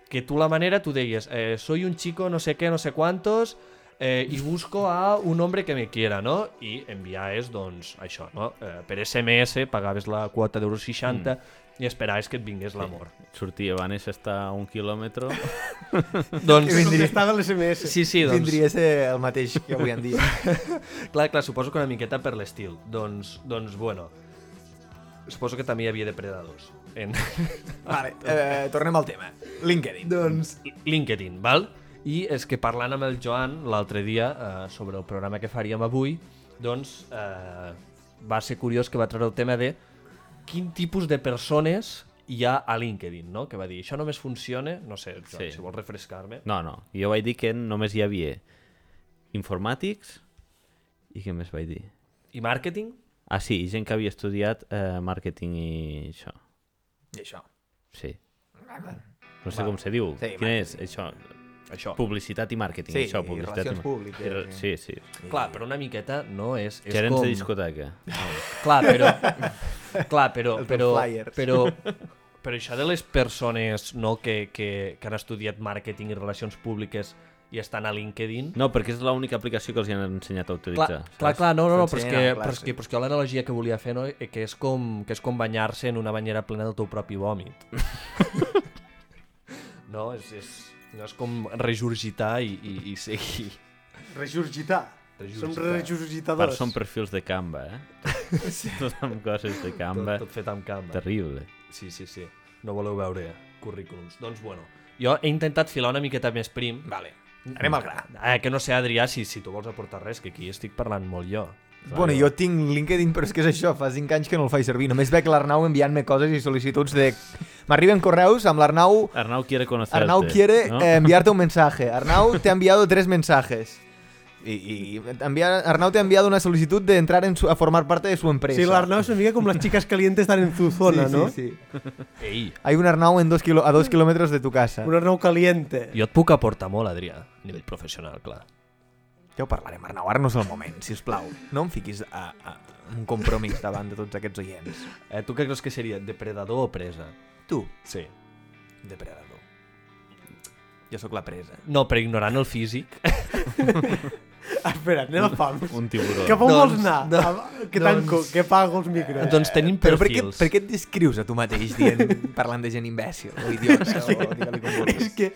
S5: que tu la manera, tu deies, eh, soy un chico no sé qué, no sé cuántos, eh, i busco a un hombre que me quiera, no? I enviaves, doncs, això, no? Eh, per SMS pagaves la quota d'euros 60 mm. i esperaves que et vingués l'amor.
S3: Sortia, van estar a un quilòmetre.
S5: doncs,
S4: Contestava l'SMS.
S5: sí, sí, doncs,
S2: Tindria ser el mateix que avui en dia.
S5: Clar, clar, suposo que una miqueta per l'estil. Doncs, doncs, bueno, suposo que també hi havia depredadors en
S2: vale, eh, tornem al tema. LinkedIn. Doncs...
S5: LinkedIn, val? I és que parlant amb el Joan l'altre dia eh, sobre el programa que faríem avui, doncs eh, va ser curiós que va treure el tema de quin tipus de persones hi ha a LinkedIn, no? Que va dir, això només funciona, no sé, Joan, sí.
S3: Sí.
S5: si vols refrescar-me.
S3: No, no. Jo vaig dir que només hi havia informàtics i què més vaig dir?
S5: I màrqueting?
S3: Ah, sí, i gent que havia estudiat eh, màrqueting i això.
S2: I això.
S3: Sí. No sé com se diu.
S2: Sí,
S3: Quina és? Això.
S5: Això.
S3: Publicitat i màrqueting.
S2: Sí,
S3: això,
S2: i
S3: publicitat
S2: relacions
S3: mar-
S2: públiques,
S3: i re- Sí,
S2: sí.
S3: sí.
S5: Clar, però una miqueta no és... és
S3: Gerents
S5: com...
S3: de discoteca.
S5: Clar, però...
S3: *laughs*
S5: clar, però...
S2: Els
S5: Però,
S2: flyers.
S5: però, però això de les persones no, que, que, que han estudiat màrqueting i relacions públiques i estan a LinkedIn...
S3: No, perquè és l'única aplicació que els hi han ensenyat a
S5: Clar,
S3: utilitzar. saps?
S5: clar, clar, no, no, no, però és
S2: T'ensenyen a
S5: que,
S2: la
S5: però és
S2: classe.
S5: que, però és que jo l'analogia que volia fer no, eh, que és com, que és com banyar-se en una banyera plena del teu propi vòmit. *laughs* no, és, és, no és com regurgitar i, i, i seguir.
S4: Resurgitar. Som
S5: Regurgitar.
S3: Per
S4: resurgitadors.
S3: són perfils de Canva,
S2: *laughs*
S3: eh? Tot amb coses de
S5: Tot,
S3: Canva.
S5: tot fet amb camba.
S3: Terrible.
S5: Sí, sí, sí. No voleu veure currículums. Doncs, bueno, jo he intentat filar una miqueta més prim.
S2: Vale. Anem al gra.
S5: Eh, que no sé, Adrià, si, si tu vols aportar res, que aquí estic parlant molt jo.
S2: Bueno, jo tinc LinkedIn, però és que és això, fa 5 anys que no el faig servir. Només veig l'Arnau enviant-me coses i sol·licituds de... M'arriben correus amb l'Arnau...
S3: Arnau quiere conocerte.
S2: Arnau quiere
S3: ¿no?
S2: eh, enviarte un mensaje. Arnau te ha enviado tres mensajes. Y, y envia- Arnau te ha enviado una solicitud de entrar en su- a formar parte de su empresa.
S4: Sí, l'Arnau és una mica com les xiques calientes estan en tu zona,
S2: sí,
S4: no?
S2: Sí, sí.
S5: Ei,
S2: Hay un Arnau en dos kilo- a dos kilómetros de tu casa.
S4: Un Arnau caliente.
S5: jo et puc aportar molt, Adrià, a nivell professional, clar.
S2: Ja ho parlarem, Arnau, ara no és el moment, si us plau. No em fiquis a, a un compromís davant de tots aquests oients.
S5: Eh, tu què creus que seria, depredador o presa?
S2: Tu,
S5: Sí.
S2: depredador. Jo sóc la presa.
S5: No, però ignorant el físic.
S4: Ah, Espera, anem a fam.
S3: *laughs* Un tiburó.
S4: Cap on
S5: Doncs-
S4: vols anar?
S5: doncs-
S4: Ah, Que tanco, que pago els micros.
S5: *laughs* doncs tenim
S2: Eh, Però per què,
S5: perfils.
S2: per què et descrius a tu mateix dient, parlant de gent imbècil o *laughs* idiota o digue-li com vulguis?
S4: *laughs* És que...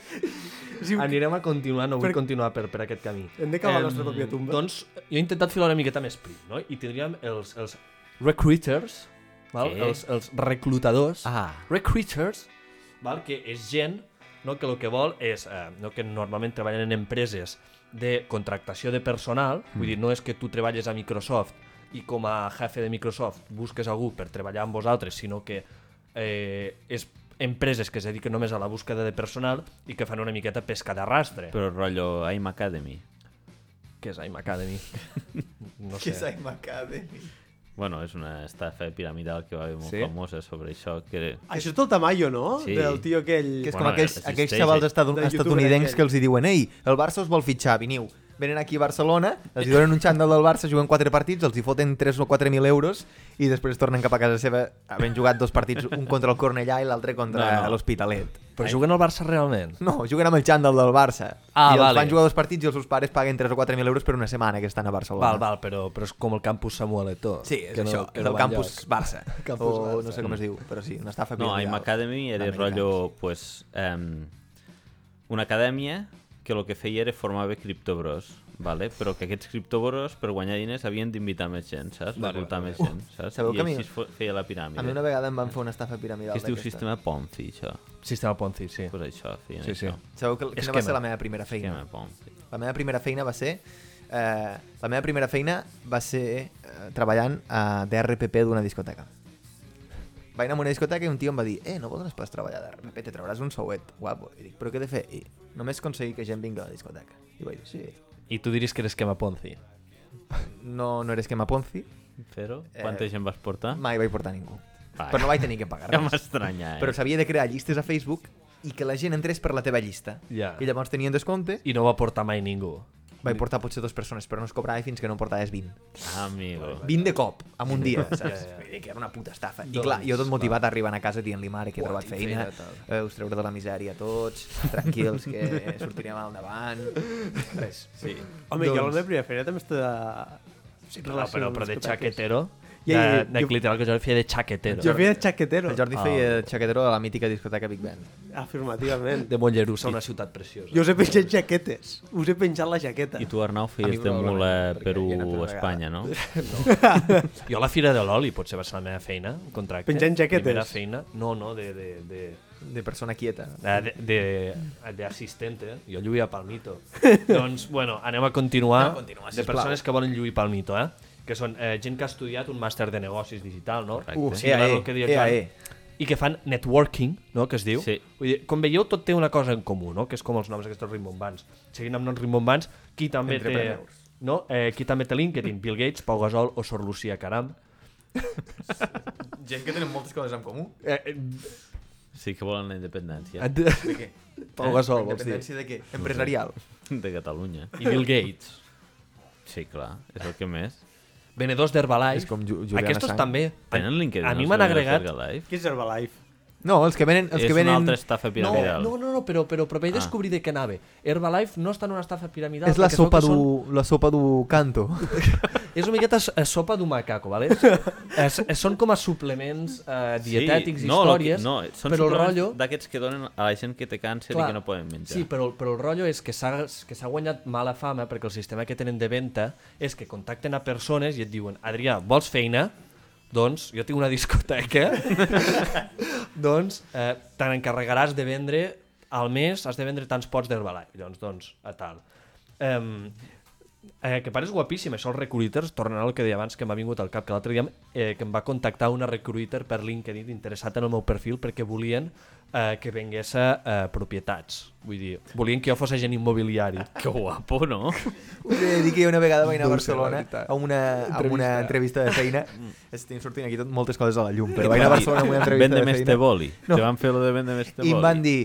S4: Sí,
S5: Anirem a continuar, no vull
S4: Per-
S5: continuar per, per aquest camí.
S2: Eh,
S4: Hem de cavar la nostra
S5: Em,
S4: pròpia tumba.
S5: Doncs jo he intentat filar una miqueta més prim, no? I tindríem els, els recruiters, val?
S3: Què?
S5: Els, els reclutadors.
S2: Ah,
S5: Recruiters, val? que és gent no? que el que vol és, eh, no? que normalment treballen en empreses de contractació de personal, mm. vull dir, no és que tu treballes a Microsoft i com a jefe de Microsoft busques algú per treballar amb vosaltres, sinó que eh, és empreses que es dediquen només a la búsqueda de personal i que fan una miqueta pesca d'arrastre. Però...
S3: Però rotllo AIM Academy.
S5: Què és AIM
S2: *laughs*
S5: Academy? No sé.
S4: Eh,
S3: Bueno, és una estafa piramidal que va haver molt
S5: Sí?
S3: famosa sobre això. Que...
S4: Això és del Tamayo, no?
S3: Sí.
S4: Del tio aquell...
S2: que és
S3: Bueno,
S2: com aquells,
S3: existeix,
S2: aquells xavals
S3: eh?
S2: estadun
S4: Del youtuber
S2: estatunidencs
S4: aquell.
S2: que els hi diuen ei, el Barça us vol fitxar, veniu. Venen aquí a Barcelona, els hi donen un xandall del Barça, juguen quatre partits, els hi foten 3 o 4.000 euros i després tornen cap a casa seva havent jugat dos partits, un contra el Cornellà i l'altre contra
S3: No, no.
S2: l'Hospitalet.
S5: Però juguen al Barça realment?
S2: No, juguen amb el xandall del Barça.
S5: Ah,
S2: I els
S5: vale.
S2: van jugar dos partits i els seus pares paguen 3 o 4.000 euros per una setmana que estan a Barcelona.
S5: Val, val, però, però és com el campus Samuel Eto'o.
S2: Sí, és
S5: que no-
S2: això,
S5: que
S2: és
S5: no
S2: el
S5: va
S2: campus
S5: enlloc.
S2: Barça.
S5: *laughs* Campus
S2: o
S5: Barça.
S2: no sé com es diu, però sí, una estafa
S3: No, AIM
S2: piramidal.
S3: Academy era
S2: Americans.
S3: rotllo, pues, um, una acadèmia que el que feia era formar bé criptobros, vale? però que aquests criptobros, per guanyar diners, havien d'invitar més gent, saps?
S5: Vale,
S3: Reclutar
S5: vale.
S3: més gent, saps?
S2: sabeu
S3: I
S2: que a mi-
S3: així es fo- feia la piràmide.
S2: A mi una vegada em van fer una estafa piramidal
S3: Que es diu
S2: d'aquestes.
S3: sistema Ponzi, això.
S5: Sistema Ponzi, sí.
S3: Pues això, feien
S5: Sí, sí.
S3: això.
S2: Sabeu que, quina va
S5: Esquema.
S2: ser la meva primera feina?
S3: Sistema Ponzi.
S2: La meva primera feina va ser... Eh, la meva primera feina va ser eh, treballant a DRPP d'una discoteca. Vaig anar a una discoteca i un tio em va dir «Eh, no vols pas treballar de RPP, te trauràs un souet, guapo». I dic «Però què he de fer?» I només aconseguir que gent vingui a la discoteca. I vaig dir «Sí».
S5: I tu diries que era esquema Ponzi.
S2: No, no era esquema Ponzi,
S3: Però,
S2: Eh,
S3: quanta gent vas portar?
S2: mai vaig portar ningú.
S3: Vaja.
S2: Però no vaig tenir que pagar
S3: Ah. *laughs* Ja
S2: res.
S3: m'estranya, eh?
S2: Però s'havia de crear llistes a Facebook i que la gent entrés per la teva llista.
S5: Ja.
S2: I llavors tenien descompte,
S5: I no va portar mai ningú.
S2: vaig portar potser dues persones, però no es cobrava fins que no en portaves 20.
S3: Amigo.
S2: 20 de cop, en un dia, saps? Vull dir Que era una puta estafa. I clar, jo tot motivat arribant a casa dient-li mare que he trobat feina, eh, us treure de la misèria a tots, tranquils, que sortirem al davant... Res. Sí.
S4: Home, jo la meva primera feina també està... Sí,
S5: Però, però, però de xaquetero.
S4: Ja, ja, ja,
S5: de, de,
S4: jo-
S5: literal, que jo feia de xaquetero.
S4: Jo feia de xaquetero,
S2: El Jordi feia xaquetero de la mítica discoteca Big Ben.
S4: afirmativament.
S5: de Mollerussa, una ciutat preciosa.
S4: Jo us he penjat jaquetes. Us he penjat la jaqueta.
S3: I tu, Arnau,
S2: A mi
S3: feies de
S2: probablement,
S3: mula
S2: perquè hi he anat una *laughs*
S3: Perú-Espanya, no?
S5: Jo a la Fira de l'Oli potser va ser la meva feina, un contracte.
S4: Penjant jaquetes.
S5: Primera feina. No, no, de... de, de
S2: De persona quieta.
S5: de, de, de assistente, eh? jo lluïa Palmito. doncs, bueno, anem a continuar,
S2: Anem a continuar,
S5: de
S2: sisplau.
S5: persones que volen lluir Palmito, eh? que són eh, gent que ha estudiat un màster de negocis digital, no?
S3: Correcte.
S2: Uh,
S5: Sí,
S2: ea,
S5: clar,
S2: eh,
S5: el que diu
S2: ea,
S5: Joan.
S2: eh.
S5: I que fan networking, no?, que es diu.
S3: Sí.
S5: Vull dir, com veieu, tot té una cosa en comú, no?, que és com els noms aquests rimbombants. Seguint amb noms rimbombants, qui també té...
S2: Entrepreneurs.
S5: No? Eh, qui també té LinkedIn? Bill Gates, Pau Gasol o Sor Lucia Caram.
S2: Gent que tenen moltes coses en comú.
S5: Eh, eh,
S3: Sí que volen la *laughs* independència
S5: et-
S2: què?
S5: Pau Gasol, vols dir?
S2: Eh? Independència de què? Empresarial.
S3: de Catalunya.
S5: I Bill Gates.
S3: Sí, clar, és el que més.
S5: Venedors d'Herbalife.
S2: És com Ju- Juliana
S5: Aquestos
S2: Sang.
S5: també.
S3: Tenen LinkedIn.
S5: A mi
S3: els
S5: m'han
S3: membres
S5: agregat...
S3: d'Herbalife?
S4: Què és Herbalife?
S2: No, els que venen... Els
S3: És
S2: que venen...
S3: una altra estafa
S5: No,
S3: piramidal.
S5: no, no, no, però, però, però vaig
S3: Ah.
S5: descobrir de què anava. Herbalife no està en una estafa piramidal.
S2: És la
S5: perquè es veu
S2: sopa
S5: que són-
S2: du... La sopa du canto.
S5: *laughs* És una miqueta s- eh, sopa d'un macaco,
S2: *laughs*
S5: ¿vale? es, es, són com a suplements eh, dietètics, sí,
S3: sí, no, el que-
S5: històries,
S3: No, són
S5: però el
S3: suplements
S5: rotllo...
S3: D'aquests que donen a la gent que té càncer i que no poden menjar.
S5: Sí,
S3: *laughs*
S5: però, però el rotllo és que s'ha que s'ha guanyat mala fama perquè el sistema que tenen de venda és que contacten a persones i et diuen Adrià, vols feina? Doncs jo tinc una
S3: *laughs*
S5: discoteca. doncs eh, te n'encarregaràs de vendre al mes, has de vendre tants pots d'Herbalife. Llavors, doncs, a tal. Um, eh, que pares guapíssim, això els recruiters, tornant al que deia abans que m'ha vingut al cap, que l'altre dia eh, que em va contactar una recruiter per LinkedIn interessat en el meu perfil perquè volien eh, que vengués a eh, propietats. Vull dir, volien que jo fos
S2: *laughs*
S5: agent immobiliari.
S3: Que guapo, no?
S2: Us he de dir que jo una vegada vaig anar a Barcelona a una, a una entrevista de feina. Estic sortint aquí tot moltes coses a la llum, però vaig anar a Barcelona a una entrevista
S3: Vende
S2: de
S3: més te
S2: feina.
S3: boli. Te van fer lo de vende més te boli.
S2: I em van dir...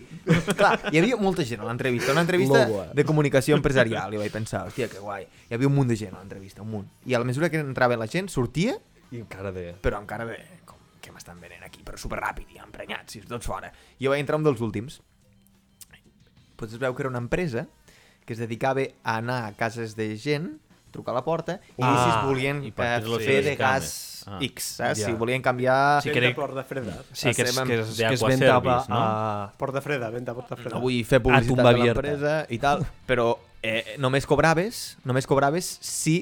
S2: Clar, hi havia molta gent a l'entrevista. Una entrevista
S5: Molt guai.
S2: de comunicació empresarial. I vaig pensar, hòstia, que guai. Hi havia un munt de gent a l'entrevista, un munt. I a la mesura que entrava la gent, sortia,
S5: I encara de...
S2: però encara de... Com, que m'estan venent aquí, però superràpid i emprenyats, i tots fora. Jo vaig entrar un dels últims. Doncs es veu que era una empresa que es dedicava a anar a cases de gent, trucar a la porta, i ah, si es volien
S3: i
S2: eh,
S3: partir les
S2: fer de
S3: cames.
S2: gas
S3: Ah.
S2: ah, X, saps?
S5: Ja.
S2: si volien canviar...
S5: Sí,
S2: Sí,
S5: que
S4: Venta
S5: era-
S4: porta freda.
S5: Sí, que es,
S2: Estem
S5: que es,
S3: amb-
S5: que es
S3: de
S5: vendava ah,
S3: Aquaservice, no?
S5: no? a...
S4: Porta freda, venta porta freda.
S2: no vull fer publicitat
S5: tumba
S2: a
S5: abierta.
S2: l'empresa i tal, però eh, només cobraves només cobraves si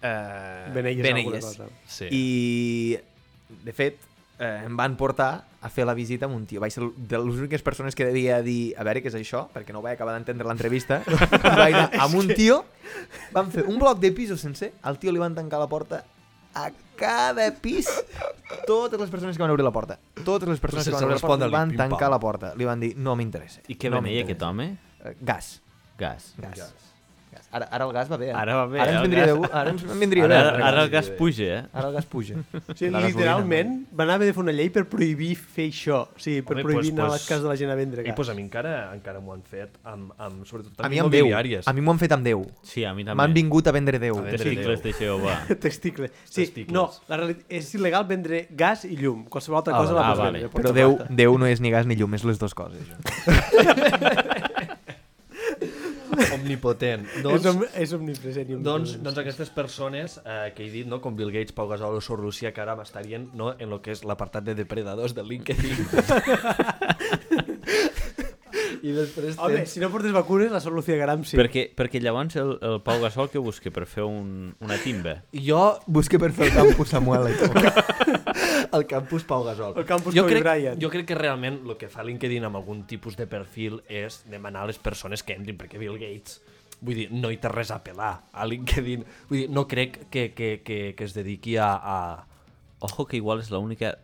S2: eh,
S4: Beneies alguna cosa.
S5: Sí. I...
S2: I, de fet, eh, em van portar a fer la visita amb un tio. Vaig ser de les úniques persones que devia dir a veure què és això, perquè no vaig acabar d'entendre l'entrevista. I vaig anar amb un tio, van fer un bloc de pisos sencer, al tio li van tancar la porta a cada pis totes les persones que van obrir la porta totes les persones
S5: Però
S2: que van
S5: sense
S2: obrir la porta li
S5: respondre-li,
S2: van
S5: pim, pam.
S2: tancar la porta li van dir no m'interessa
S3: I què
S2: no
S3: venia
S2: m'interessa".
S3: aquest home?
S2: Eh, gas
S3: Gas.
S2: gas, gas. Ara, ara el gas va bé eh?
S3: Ara va bé,
S2: ara
S3: el
S2: ens vindria,
S3: gas-
S2: de, gu- ara ens en vindria
S3: Ara,
S2: de-
S3: ara el gas puja, eh?
S2: ara el gas puja
S4: O sigui,
S2: La gasolina.
S4: literalment, van haver de fer una llei per prohibir fer això. O sigui, per
S5: Home,
S4: prohibir
S5: pues-
S4: anar a
S5: pues-
S4: les cases de la gent a vendre
S5: I
S4: gas.
S5: pues a mi encara encara m'ho han fet, amb, amb, sobretot
S2: A
S5: amb
S2: mi amb Déu.
S5: immobiliàries.
S2: A mi m'ho han fet amb Déu.
S3: Sí, a mi també.
S2: M'han vingut a vendre Déu.
S5: A vendre
S3: Testicles de Jehovà.
S4: *laughs* Testicles. Sí,
S5: Testicles.
S4: no, la realitat és il·legal vendre gas i llum. Qualsevol altra
S5: Ah,
S4: cosa la
S3: ah,
S4: pots
S3: vale.
S4: vendre. tota
S2: Però Déu, Déu no és ni gas ni llum, és les dues coses.
S5: *laughs*
S2: *laughs*
S5: Omnipotent.
S4: Doncs, és,
S5: Doncs,
S4: om, és omnipresent i
S5: doncs,
S4: omnipresent.
S5: doncs aquestes persones eh, que he dit, no, com Bill Gates, Pau Gasol o Sor Lucia, que ara m'estarien no, en
S2: *laughs*
S5: el que és l'apartat de depredadors de LinkedIn.
S4: I després
S5: Home,
S4: tens... si no portes vacunes, la sort Lucía Gramsci.
S3: Perquè, perquè llavors el, el Pau Gasol que busque per fer un, una timba.
S2: Jo busqué per fer el campus Samuel *laughs* i El campus Pau Gasol.
S4: El campus
S5: Jo
S4: Kobe
S5: crec,
S4: Bryant.
S5: jo crec que realment el que fa LinkedIn amb algun tipus de perfil és demanar a les persones que entrin, perquè Bill Gates vull dir, no hi té res a pelar a LinkedIn. Vull dir, no crec que, que, que, que es dediqui a... a...
S3: Ojo que igual és l'única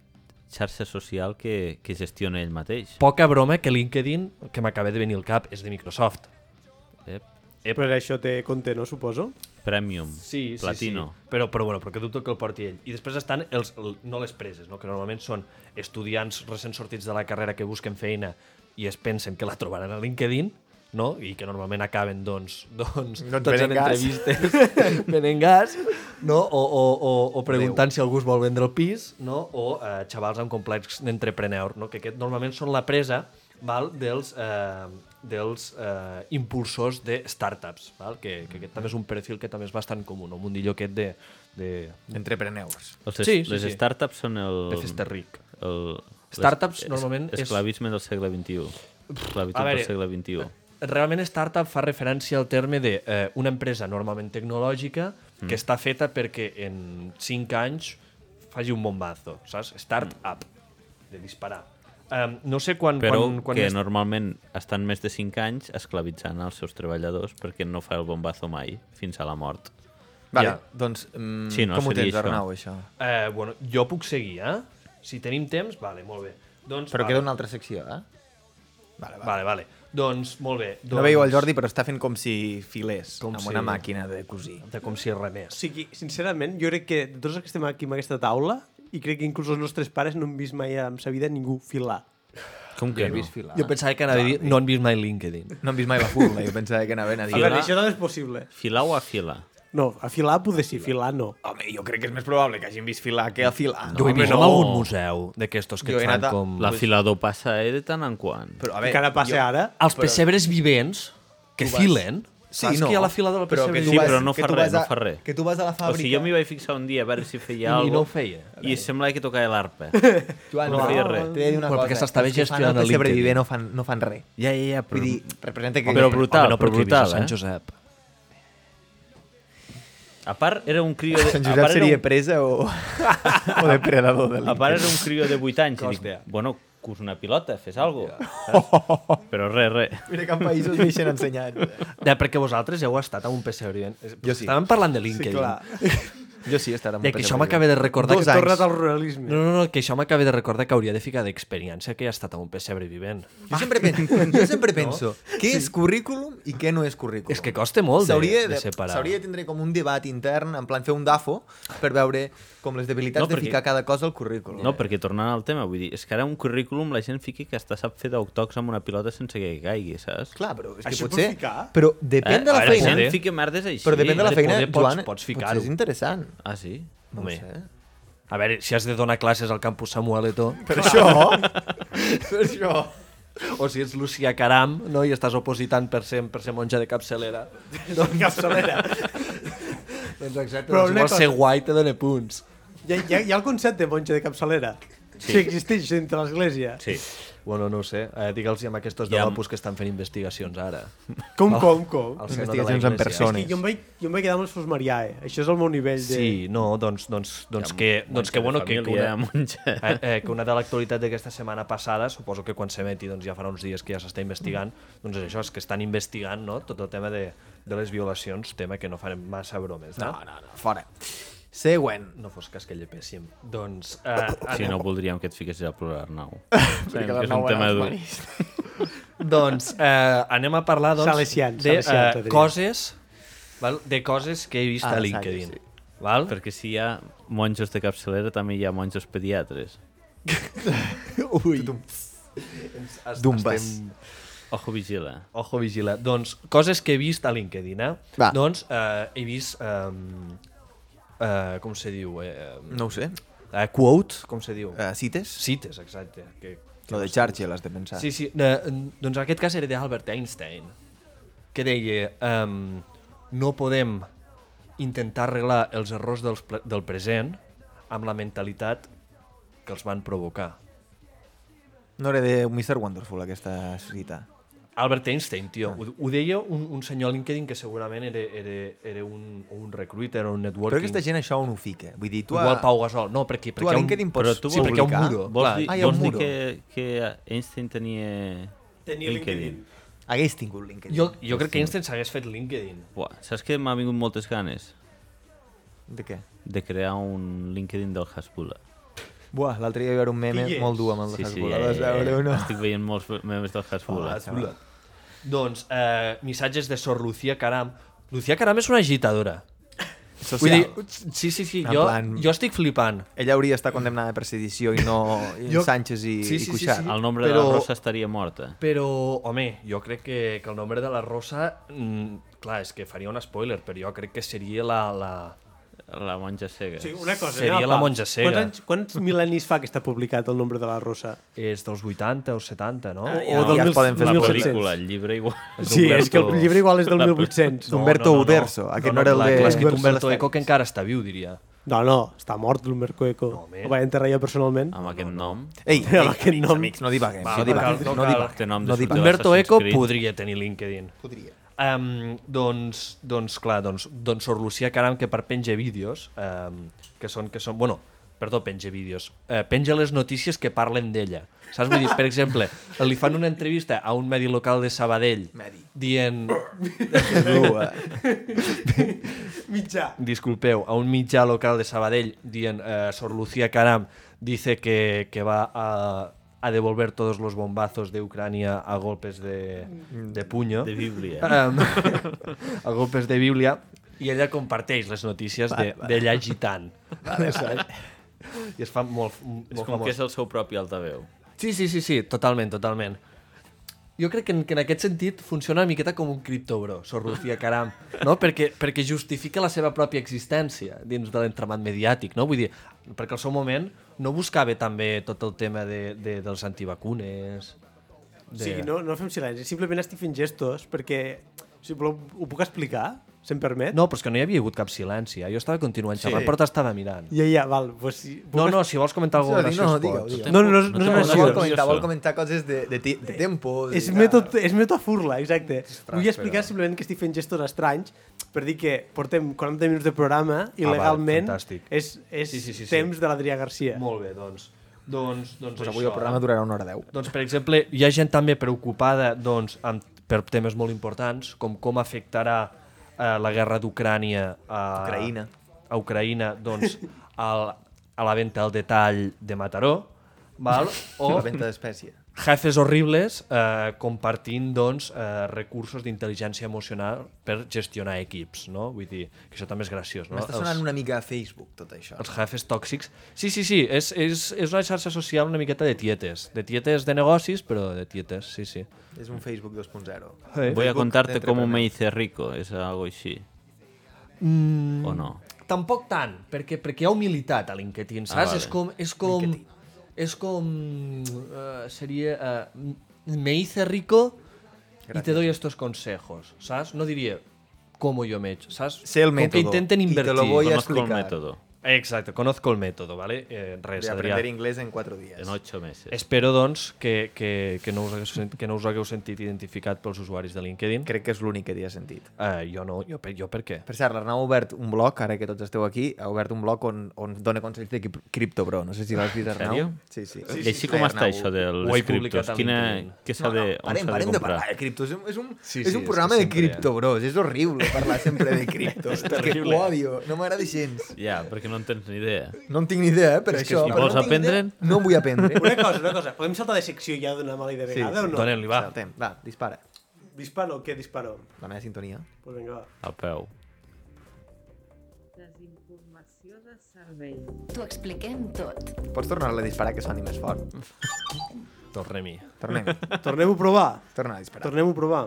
S3: xarxa social que, que gestiona ell mateix.
S5: Poca broma que LinkedIn, que m'acaba de venir al cap, és de Microsoft.
S3: Ep.
S4: Però això té compte, no, suposo?
S3: Premium.
S5: Sí, sí,
S3: Platino.
S5: sí. Però, però, bueno, però que dubto que el porti ell. I després estan els, el, no les preses, no? que normalment són estudiants recent sortits de la carrera que busquen feina i es pensen que la trobaran a LinkedIn, no? i que normalment acaben doncs, *laughs* doncs,
S2: Doncs
S5: doncs
S2: venent
S5: en
S2: gas.
S5: entrevistes *laughs* venent gas no? o, o, o, o preguntant si algú es vol vendre el pis no? o eh, xavals amb complex d'entrepreneur no? que aquest normalment són la presa val? dels, eh, dels eh, impulsors de startups val? Que, que aquest també és un perfil que també és bastant comú no? un mundillo aquest de, de,
S2: Entrepreneurs.
S3: Els, es-
S5: Sí, sí,
S3: les
S5: sí.
S3: startups són el...
S5: de festa ric
S3: El,
S5: Startups,
S3: l'es-
S5: normalment, és-
S3: Esclavisme del segle XXI. Esclavitud
S5: a veure,
S3: del segle XXI.
S5: realment startup fa referència al terme de eh, una empresa normalment tecnològica mm. que està feta perquè en 5 anys faci un bombazo, saps? Start-up, de disparar. Um, no sé quan...
S3: Però
S5: quan, quan
S3: que
S5: es-
S3: normalment estan més de 5 anys esclavitzant els seus treballadors perquè no fa el bombazo mai, fins a la mort.
S2: Vale,
S5: Ja.
S2: doncs mm,
S3: Sí, no,
S2: com ho
S3: seria
S2: tens,
S3: això.
S2: Arnau, això?
S5: Eh, bueno, jo puc seguir, eh? Si tenim temps, vale, molt bé. Doncs,
S2: Però
S5: vale,
S2: queda una altra secció, eh?
S5: Vale, vale. vale. Doncs, molt bé. Doncs,
S2: No veieu el Jordi, però està fent com si filés
S5: Com
S2: amb
S5: si-
S2: una màquina de cosir.
S5: De com si
S4: O
S5: remés.
S4: sigui, sincerament, jo crec que de tots els que estem aquí amb aquesta taula, i crec que inclús els nostres pares no han vist mai en sa vida ningú filar.
S3: Com que no?
S2: filar.
S5: Jo pensava que anava a dir, no han vist mai LinkedIn.
S2: No hem vist mai la fuga, jo pensava que anaven a dir... "Ah".
S4: A veure, això també és possible.
S3: Filar o afilar?
S4: No, a filar poder sí, filar no.
S2: Home, jo crec que és més probable que hagin vist filar que afilar.
S5: Jo he vist en algun museu d'aquestos que
S2: Jo
S5: et
S2: he
S5: fan
S2: anat a-
S5: com...
S3: L'afilador passa eh, de tant en quant.
S2: Però, a
S4: Que
S2: veure,
S4: ara passa
S2: jo-
S4: ara.
S5: Els pessebres vivents que filen.
S2: Sí,
S5: Saps
S2: no,
S5: que hi ha la fila de la
S2: però
S5: pessebre
S2: que
S5: vivent?
S2: tu
S3: sí,
S2: vas-
S3: però no
S2: que
S3: fa
S2: tu
S3: res,
S2: vas a-
S3: no fa res.
S2: que tu vas a la
S3: O sigui, jo
S2: fàbrica-
S3: m'hi vaig fixar un dia a veure si
S5: I
S3: feia alguna
S5: no ho feia.
S3: I semblava que tocava l'arpa.
S2: Joan,
S3: No
S2: no,
S3: feia res.
S2: T'he de dir una
S5: Però
S2: cosa.
S5: perquè s'estava
S2: els que fan
S5: gestionant
S2: el
S5: el
S2: pessebre
S5: LinkedIn.
S2: viver no fan, no fan res.
S3: Ja, ja, ja,
S2: Vull dir, representa que...
S3: Però brutal,
S5: Home, no,
S3: però
S5: perquè
S3: brutal,
S5: vist a Sant
S3: eh?
S5: Josep.
S3: A part, era un crio... De...
S2: Sant
S3: a
S2: Josep
S3: part, era
S2: seria
S3: un-
S2: presa
S4: *laughs*
S2: o, o depredador de
S3: A
S2: l'Ica.
S3: part era un crio de 8 anys i dic,
S5: Hòstia.
S3: bueno, cus una pilota, fes alguna cosa. Però res, res.
S2: Mira que en països deixen *laughs* ensenyat.
S5: Ja, perquè vosaltres heu estat a un pessebre vivent.
S2: Jo sí.
S5: Estàvem parlant de LinkedIn. *laughs*
S4: clar.
S2: Jo sí, estarà amb
S5: Ja, que això m'acaba de recordar...
S4: Dos
S5: Que...
S2: anys.
S4: tornat al ruralisme.
S5: No, no, no, que això m'acaba de recordar que hauria de ficar d'experiència que he estat a un pessebre vivent.
S2: Jo sempre, pen jo sempre penso què és currículum i què no és currículum.
S5: És que costa molt de,
S2: S'hauria
S5: de,
S2: de,
S5: separar.
S2: s'hauria de tindre com un debat intern, en plan fer un dafo, per veure com les debilitats
S3: No,
S2: no, perquè... de
S3: perquè-
S2: ficar cada cosa al currículum.
S3: No, perquè tornant al tema, vull dir, és que ara un currículum la gent fiqui que està sap fer d'octocs amb una pilota sense que caigui, saps?
S2: Clar, però és que
S4: Això
S2: potser...
S4: pot ficar?
S2: Però depèn de
S3: Eh,
S2: la
S3: a veure,
S2: feina.
S3: La gent fica merdes així. eh?
S2: Però depèn de la
S5: de
S2: feina,
S5: poder pots-
S2: Joan,
S5: pots
S2: potser
S5: ficar-ho.
S2: és interessant.
S3: Ah, sí?
S2: No
S5: Home.
S2: sé.
S5: A veure, si has de donar classes al campus Samuel Eto,
S2: Per això... per això...
S5: o si ets Lucia Caram, no?, i estàs opositant per ser, per ser monja de capçalera,
S4: Capçalera.
S5: *laughs* doncs exacte,
S4: Però
S5: doncs, si
S4: una
S5: vols ser
S4: cosa-
S5: guai te dona punts.
S4: Hi ha, hi, ha, hi ha el concepte de monja de capçalera. Sí. Si existeix dintre l'església.
S3: Sí.
S5: Bueno, no ho sé. Eh, Digue'ls amb aquests dos
S3: I
S5: de
S3: amb-
S5: l'Opus que estan fent investigacions ara.
S4: Com, com, com?
S5: Al Senat de
S2: Investigacions
S5: la
S2: en
S5: Iglesia.
S2: persona.
S4: I jo em vaig, jo em vaig quedar amb els Fosmariae. Això és el meu nivell de...
S5: Sí, no, doncs, doncs, doncs, que, doncs que, bueno, que, que,
S3: una...
S5: una, eh, eh, que una de l'actualitat d'aquesta setmana passada, suposo que quan s'emeti doncs, ja farà uns dies que ja s'està investigant, doncs és això, és que estan investigant no? tot el tema de, de les violacions, tema que no farem massa bromes. No, no,
S2: No, fora. Següent.
S5: no fos cas que llepéssim. Doncs, eh,
S2: Ah,
S3: Si
S5: anem-
S3: no, voldríem que et fiquessis a
S2: *laughs*
S3: plorar, Arnau. Sabem que és un tema dur.
S5: doncs eh, anem a parlar doncs,
S4: Salesians,
S5: de
S4: salesians,
S5: eh,
S4: Adrià.
S5: coses val? de coses que he vist
S2: Ah,
S5: a
S2: saps,
S5: LinkedIn.
S2: sí.
S5: Val?
S3: Perquè si hi ha monjos de capçalera, també hi ha monjos pediatres.
S2: *laughs* Ui. Dumbes.
S5: Estem-
S3: Ojo, vigila.
S5: Ojo, vigila. Doncs, coses que he vist a LinkedIn, eh?
S2: Va.
S5: Doncs, eh, he vist... Um, eh, com se diu? Eh,
S2: No ho sé.
S5: eh, quote, com se diu?
S2: Uh, cites? Ah.
S5: Cites, exacte. Eh. Que,
S2: Lo de Churchill has de pensar.
S5: Sí, sí. Eh, doncs en aquest cas era d'Albert Einstein, que deia um, no podem intentar arreglar els errors dels, ple- del present amb la mentalitat que els van provocar.
S2: No era de Mr. Wonderful, aquesta cita.
S5: Albert Einstein,
S2: Ah.
S5: tio. Ho, ho deia un, un senyor a LinkedIn que segurament era, era, era un, un recruiter o un networking.
S2: Però aquesta gent això on ho fica? Vull dir, tu a,
S5: Igual Pau Gasol. No, perquè,
S2: tu a
S5: perquè hi ha un-
S2: LinkedIn pots
S3: tu
S5: Sí,
S3: vols
S5: perquè hi ha
S2: publicar.
S5: un muro.
S3: Vols
S5: clar.
S3: dir,
S2: Ah, hi ha un
S3: vols dir
S2: muro.
S3: que, que Einstein tenia,
S4: Tenia LinkedIn.
S2: Hagués tingut LinkedIn.
S5: Jo, jo crec que Einstein s'hagués fet LinkedIn.
S3: Buah, saps que m'ha vingut moltes ganes
S2: De què?
S3: de crear un LinkedIn del Hasbula.
S2: Buah, l'altre dia hi va haver un meme
S4: Qui és?
S2: molt dur amb el de
S3: Sí, sí,
S2: Hasbula.
S3: eh,
S2: Vas veure o no?
S3: estic veient molts memes del Hasbula.
S5: Hola. Doncs, eh, missatges de Sor Lucía Caram. Lucía Caram és una agitadora. Vull dir, sí, sí, sí,
S2: En
S5: jo,
S2: plan-
S5: jo estic flipant.
S2: Ella hauria d'estar condemnada per sedició i no i
S5: Jo-
S2: Sánchez i,
S5: Sí, sí, sí,
S2: i Cuixart.
S5: sí.
S3: El nombre de
S5: Però-
S3: la Rosa estaria morta.
S5: Però, home, jo crec que, que el nombre de la Rosa... Mm, clar, és que faria un spoiler, però jo crec que seria la... la...
S3: La monja cega.
S4: Sí, una cosa,
S5: Seria
S4: anem al
S5: la
S4: pal.
S5: monja cega.
S4: Quants, anys, quants mil·lennis fa que està publicat el nombre de la rossa?
S5: És dels 80 o 70, no?
S4: Ah,
S5: O,
S4: ja.
S5: o del...
S2: ja
S4: del
S2: es poden fer la
S4: 1700.
S3: pel·lícula, el llibre igual.
S4: Sí, és que el llibre igual és del 1800. No,
S2: D'Umberto Uderzo, aquest no era el
S5: clar,
S2: de-
S5: clar, és que
S2: Humberto
S5: Humberto
S2: Eco.
S5: Eco, que encara està viu, diria.
S4: no, no està mort l'Umberto Eco.
S5: No, home. Ah,
S4: el va enterrar jo personalment.
S3: Amb aquest nom.
S2: Ei, ei,
S4: amb aquest
S2: amics,
S4: nom.
S2: amics, no divaguem,
S5: Va,
S2: no
S5: no cal,
S2: divaguem.
S5: no
S2: No
S5: cal.
S2: divaguem.
S3: Té nom
S2: No
S3: de
S2: divaguem.
S3: sortida
S5: Humberto
S3: d'Assassin's
S5: Eco
S3: Creed.
S5: podria tenir LinkedIn.
S2: Podria.
S5: Um, doncs, doncs, clar, doncs, doncs Sor Lucía Caram, que per penja vídeos, um, que són, que són, bueno, perdó, penja vídeos, eh, penja les notícies que parlen d'ella. Saps? Vull dir, per exemple, li fan una entrevista a un medi local de Sabadell
S2: Medi.
S5: dient,
S2: Dur, eh?
S4: Mitjà.
S5: disculpeu, a un mitjà local de Sabadell dient eh, Sor Lucía Caram dice que, que va a, a devolver todos los bombazos de Ucrania a golpes de, de puño.
S3: De Bíblia.
S5: Em,
S3: *laughs*
S5: a golpes de Bíblia i ella comparteix les notícies de- d'ella agitant. *laughs* I es fa molt, molt
S3: És com
S5: famós.
S3: que és el seu propi altaveu.
S5: Sí, sí, sí, sí, totalment, totalment. Jo crec que en, que en aquest sentit funciona una miqueta com un criptobro, Sor Lucía Caram, no? perquè, perquè justifica la seva pròpia existència dins de l'entramat mediàtic, no? Vull dir, perquè al seu moment no buscava també tot el tema de, de, dels antivacunes... De...
S4: Sí, no, no fem silenci, simplement estic fent gestos perquè, si voleu, ho puc explicar, se'm permet?
S5: No, però és que no hi havia hagut cap silenci. Eh? Jo estava continuant xerrant, sí. però t'estava mirant.
S4: Ja, ja, val. Pues, si,
S5: No, no, si vols comentar alguna
S2: No,
S5: cosa
S2: digue-
S5: graciós,
S2: no, digue-ho,
S5: pots.
S2: digue-ho.
S4: No, no, no, és- no, no,
S3: No,
S2: No,
S3: no,
S4: és
S2: vol
S4: graciós.
S2: comentar, vol comentar coses de, de, ti- de tempos.
S4: És,
S2: i tal.
S4: meto, és metafurla, exacte. Vull explicar
S5: però-
S4: simplement que estic fent gestos estranys per dir que portem 40 minuts de programa i
S5: Ah, val,
S4: legalment
S5: fantàstic.
S4: és, és
S5: Sí, sí, sí, sí.
S4: temps de l'Adrià Garcia.
S5: Molt bé, doncs. Doncs, doncs,
S2: Doncs avui el programa durarà una hora deu.
S5: Doncs, per exemple, hi ha gent també preocupada doncs, amb, per temes molt importants, com com afectarà eh, la guerra d'Ucrània a,
S2: Ucraïna.
S5: a Ucraïna,
S2: *laughs*
S5: doncs, al, a la venta al detall de Mataró, val? o
S2: La venda d'espècie.
S5: jefes horribles eh, compartint doncs, eh, recursos d'intel·ligència emocional per gestionar equips, no? Vull dir, que això també és graciós, no?
S2: M'està
S5: Els-
S2: sonant una mica a Facebook, tot això.
S5: els jefes tòxics. Sí, sí, sí, és, és, és una xarxa social una miqueta de tietes. De tietes de negocis, però de tietes, sí, sí.
S2: És un Facebook 2.0.
S3: Voy a contarte
S2: d'entrepreneur.
S3: cómo me hice rico. És algo així. O no?
S5: Tampoc tant, perquè, perquè hi ha humilitat a LinkedIn, saps?
S3: Ah, vale.
S5: És com... És com, és com eh, seria... eh, me hice rico y te doy estos consejos, saps? No diria com jo me he hecho, saps?
S2: Sé el
S5: Com
S2: método
S5: que intenten
S2: y te
S5: invertir.
S2: lo voy a-
S3: Conozco el
S2: explicar.
S3: método.
S5: Exacte, conozco el método, ¿vale? Eh, res,
S2: De
S5: Adrià.
S2: aprender inglés en 4 dies.
S3: En 8 meses.
S5: Espero, doncs, que, que, que, no us hagueu, sent- que no us hagueu sentit identificat pels usuaris de LinkedIn.
S2: Crec que és l'únic que t'hi ha sentit.
S5: Eh, jo no, jo, per- jo per què?
S2: Per cert, l'Arnau ha obert un blog, ara que tots esteu aquí, ha obert un blog on, on dona consells de cri- criptobro. No sé si l'has vist, Arnau.
S3: sèrio?
S2: Sí, sí.
S3: I així com està això de
S5: ho he
S3: les
S5: publicat
S3: criptos?
S5: a
S3: Quina...
S5: LinkedIn.
S3: Què s'ha
S2: No,
S3: de...
S2: no,
S3: on
S2: parem,
S3: s'ha de
S2: parem de,
S3: comprar?
S2: parlar de criptos. És un, sí,
S5: Sí,
S2: és
S5: sí,
S2: un
S5: és
S2: programa de
S5: que sempre-
S2: criptobros. És horrible parlar sempre de criptos. perquè ho odio. No m'agrada gens.
S3: Ja, perquè no en tens ni idea.
S2: No en tinc ni idea, eh, per
S5: que
S2: això.
S5: si
S2: però
S3: vols
S2: no en tinc
S3: aprendre'n-
S2: idea, No en vull
S3: *laughs*
S2: aprendre.
S4: Una cosa, una cosa. Podem saltar de secció ja d'una mala idea
S2: Sí,
S4: vegada
S2: sí.
S4: o no?
S5: Donem-li, va.
S2: Saltem. Va, dispara.
S4: Disparo o què disparo?
S2: La meva sintonia.
S4: Pues vinga, va.
S3: Al peu.
S7: Desinformació de servei.
S8: T'ho expliquem tot.
S2: Pots tornar-la a disparar, que soni més
S3: *laughs*
S2: fort.
S5: Tornem-hi.
S2: Tornem.
S4: Tornem-ho a provar.
S2: Torna a disparar.
S4: Tornem-ho a provar.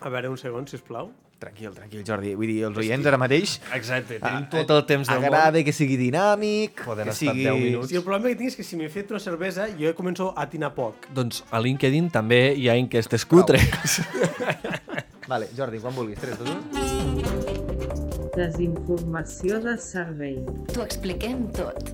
S4: A veure, un segon, si us plau.
S2: Tranquil, tranquil, Jordi. Vull dir, els oients ara mateix...
S5: Exacte, tenim tot el temps del món.
S2: Agrada que sigui dinàmic,
S5: Poden
S2: que
S5: estar
S2: sigui...
S5: 10 minuts.
S4: Si el problema que tinc és que si m'he fet una cervesa, jo començo a atinar poc.
S5: Doncs a LinkedIn també hi ha enquestes cutres. *laughs*
S2: Vale, Jordi, quan vulguis. 3, 2, 1...
S7: Desinformació de servei.
S8: T'ho expliquem tot.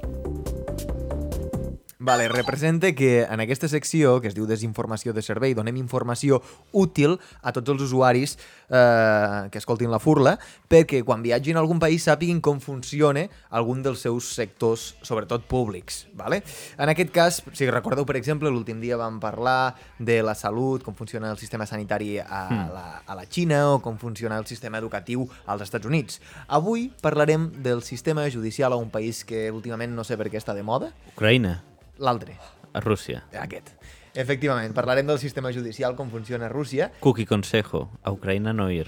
S2: Vale, representa que en aquesta secció, que es diu Desinformació de Servei, donem informació útil a tots els usuaris eh, que escoltin la furla, perquè quan viatgin a algun país sàpiguin com funciona algun dels seus sectors, sobretot públics. Vale? En aquest cas, si recordeu, per exemple, l'últim dia vam parlar de la salut, com funciona el sistema sanitari a, la, a la Xina o com funciona el sistema educatiu als Estats Units. Avui parlarem del sistema judicial a un país que últimament no sé per què està de moda,
S3: Ucraïna,
S2: l'altre,
S3: a Rússia.
S2: aquest. Efectivament, parlarem del sistema judicial, com funciona a Rússia.
S3: Cookie Consejo, a Ucraïna no ir.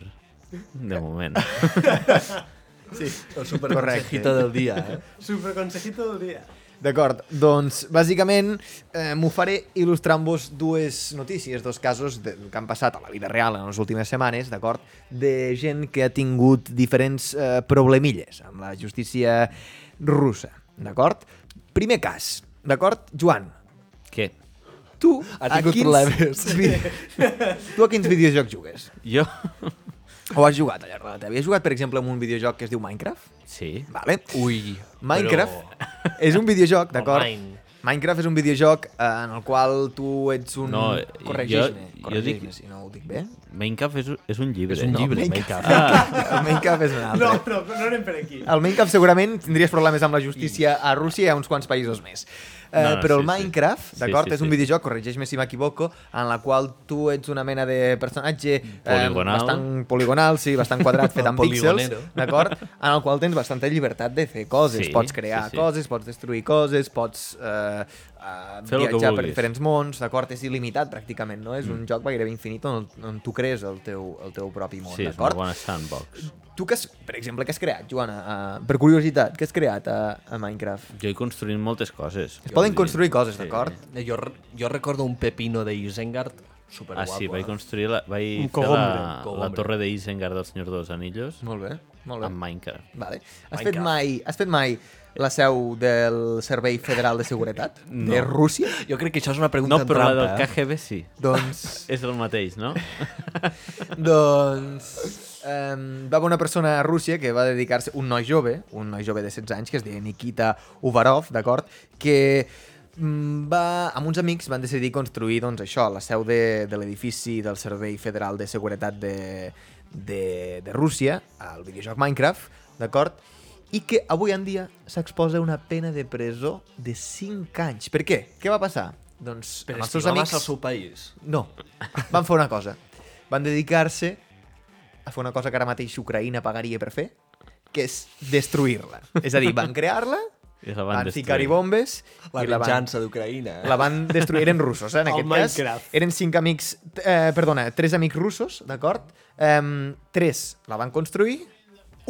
S3: De moment.
S5: El superconsejito del dia, eh?
S4: Superconsejito del dia.
S2: D'acord, doncs, bàsicament, eh, m'ho faré il·lustrant-vos dues notícies, dos casos de, que han passat a la vida real en les últimes setmanes, d'acord? De gent que ha tingut diferents eh, problemilles amb la justícia russa, d'acord? Primer cas, d'acord? Joan,
S3: Què?
S2: tu
S5: Ha tingut problemes. *laughs*
S2: vi- tu a quins videojocs jugues?
S3: Jo?
S2: O has jugat al llarg de la teva? vida? Has jugat, per exemple, amb un videojoc que es diu Minecraft?
S3: *laughs* Sí.
S2: Vale.
S5: Ui,
S2: Minecraft
S5: però-
S2: *laughs* és un videojoc, d'acord?
S5: Mine.
S2: Minecraft és un videojoc eh, en el qual tu ets un...
S3: No, eh,
S2: Corregeix-me,
S3: jo- jo
S2: corregeix-me
S3: dic-
S2: si no ho dic bé.
S3: Minecraft és, un- és un llibre.
S5: És un llibre, Minecraft.
S2: El *laughs* Minecraft és un altre.
S4: No, no, no anem per aquí.
S2: El Minecraft segurament tindries problemes amb la justícia a Rússia i a uns quants països més. Eh,
S3: No, no,
S2: però el
S3: sí, sí.
S2: Minecraft,
S3: Sí,
S2: d'acord,
S3: sí,
S2: és un
S3: sí.
S2: videojoc, corregeix-me si m'equivoco, en la qual tu ets una mena de personatge eh,
S3: Poligonal.
S2: bastant poligonal, sí, bastant quadrat,
S3: *laughs*
S2: fet amb píxels,
S5: Poligonero.
S2: d'acord? En el qual tens bastanta llibertat de fer coses.
S3: Sí,
S2: pots crear
S3: sí, sí.
S2: coses, pots destruir coses, pots eh, eh,
S3: Fer el que
S2: viatjar per
S3: vulguis. Mm.
S2: diferents mons, d'acord? És il·limitat, pràcticament, no? És un joc gairebé infinit on, on tu crees el teu, el teu propi món,
S3: Sí, és una
S2: d'acord?
S3: bona sandbox.
S2: Tu que has, per exemple, què has creat, Joana? Uh, per curiositat, què has creat a, a Minecraft?
S3: Jo he construït moltes coses.
S2: Es poden
S3: Vull dir-
S2: construir coses, d'acord?
S5: Jo, re- jo recordo un pepino de Isengard
S3: Ah,
S5: superguapo.
S3: sí,
S5: eh?
S3: vaig construir la, vaig
S4: Un
S3: fer la,
S5: cogombre.
S3: la torre de Isengard del Senyor dels Anillos
S2: Molt bé, molt
S3: amb Minecraft.
S2: Vale. Has, fet
S5: Minecraft.
S2: mai, has fet mai la seu del Servei Federal de Seguretat de *laughs* Rússia?
S5: Jo crec que això és una pregunta
S3: No, però la
S5: trampa,
S3: del
S5: eh?
S3: KGB sí.
S2: Doncs,
S3: És el mateix,
S2: *laughs*
S3: no?
S2: doncs um, va haver una persona a Rússia que va dedicar-se, un noi jove, un noi jove de 16 anys, que es deia Nikita Uvarov, d'acord? Que mm, va, amb uns amics van decidir construir doncs, això, la seu de, de l'edifici del Servei Federal de Seguretat de, de, de Rússia, al videojoc Minecraft, d'acord? I que avui en dia s'exposa a una pena de presó de 5 anys. Per què? Què va passar? Doncs
S5: Per
S2: amb els seus
S5: estimar
S2: amics...
S5: massa el seu país.
S2: No. Van fer una cosa. Van dedicar-se a fer una cosa que ara mateix Ucraïna pagaria per fer, que és destruir-la. És a dir, van crear-la,
S3: I la van
S2: van ficar-hi
S3: destruir.
S2: bombes...
S5: La
S2: i la van,
S5: venjança d'Ucraïna. eh?
S2: la van destruir. Eren russos,
S5: *laughs*
S2: eh, en
S4: El
S2: aquest cas.
S4: Minecraft.
S2: Eren cinc amics... Eh, perdona, tres amics russos, d'acord? Um, tres la van construir,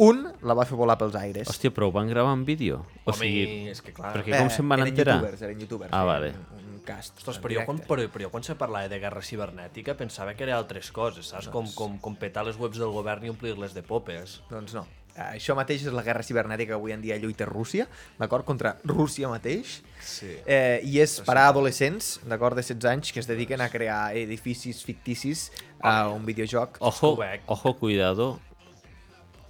S2: un la va fer volar pels aires.
S3: Hòstia, però ho van gravar en vídeo? O
S5: Home,
S3: sigui,
S5: és que clar.
S3: Perquè com se'n van
S2: Eh, eren
S3: enterar?
S2: Youtubers, eren youtubers.
S3: Ah,
S2: feien
S3: vale.
S2: Un, un cast.
S5: Ostres,
S2: en
S5: però jo, quan,
S2: directe.
S5: però, però jo quan se parlava de guerra cibernètica pensava que era altres coses, saps? Com, com, com petar les webs del govern i omplir-les de popes.
S2: Doncs no. Eh, Això mateix és la guerra cibernètica que avui en dia lluita Rússia, d'acord? Contra Rússia mateix.
S5: Sí.
S2: Eh, I és per a adolescents, d'acord, de 16 anys, que es dediquen a crear edificis ficticis a un videojoc.
S3: ojo,
S5: Quebec.
S3: ojo, cuidado,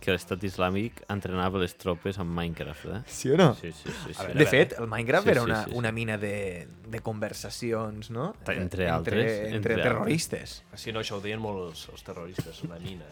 S3: que l'estat islàmic entrenava les tropes amb Minecraft, eh?
S2: Sí o no?
S3: Sí, sí, sí. sí.
S2: De fet, el Minecraft
S3: Sí,
S2: era
S3: sí,
S2: una,
S3: sí, sí.
S2: una mina de, de conversacions, no?
S3: Entre
S2: Eh,
S3: altres,
S2: Entre,
S3: entre
S2: entre
S3: altres.
S2: terroristes.
S5: Si no, això ho deien molt els, els terroristes, una mina.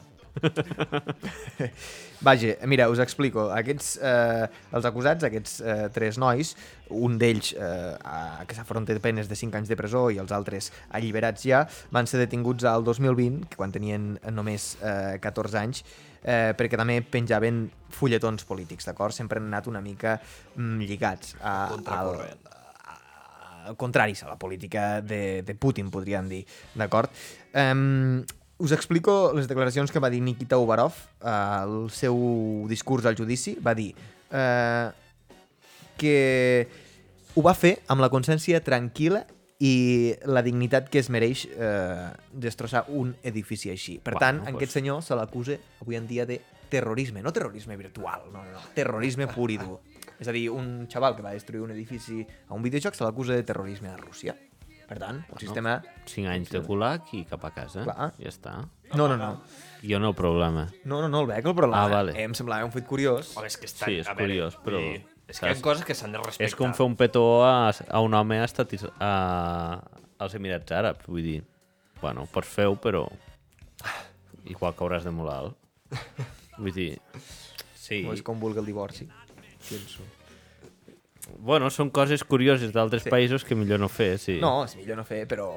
S2: Vaja, mira, us explico. Aquests, eh, els acusats, aquests eh, tres nois, un d'ells eh, a, que s'afronta penes de 5 anys de presó i els altres alliberats ja, van ser detinguts al 2020, que quan tenien només eh, 14 anys, eh, perquè també penjaven fulletons polítics, d'acord? Sempre han anat una mica mm, lligats a, al,
S5: Contracorrent.
S2: eh, contraris a la política de, de Putin, podríem dir, d'acord? Um, us explico les declaracions que va dir Nikita Uvarov eh, al seu discurs al judici. Va dir eh, que ho va fer amb la consciència tranquil·la i la dignitat que es mereix eh, destrossar un edifici així. Per
S3: Bueno,
S2: tant,
S3: doncs-
S2: en aquest senyor se l'acusa avui en dia de terrorisme, no terrorisme virtual, no, no, no, terrorisme pur i dur. És a dir, un xaval que va destruir un edifici a un videojoc se l'acusa de terrorisme a Rússia. Per tant,
S3: Ah,
S2: un sistema...
S3: 5 anys de culac i cap a casa.
S2: Clar.
S3: Ja està.
S2: No, no, no.
S3: Jo no problema.
S2: No, no, no el veig, el problema.
S3: Ah, vale.
S2: Eh, em semblava un fet curiós.
S5: Home, és que estan...
S3: Sí, és
S5: a veure,
S3: curiós, però...
S5: i És que hi ha
S3: Saps?
S5: coses que s'han de respectar.
S3: És com fer un petó a, a un home a estatis, a, als Emirats Àrabs, vull dir, bueno, pots fer-ho, però igual cauràs de molt alt. Vull dir, sí.
S2: O és com vulgui el divorci, penso.
S3: Bueno, són coses curioses d'altres sí. països que millor no fer, sí.
S2: No, és millor no fer, però...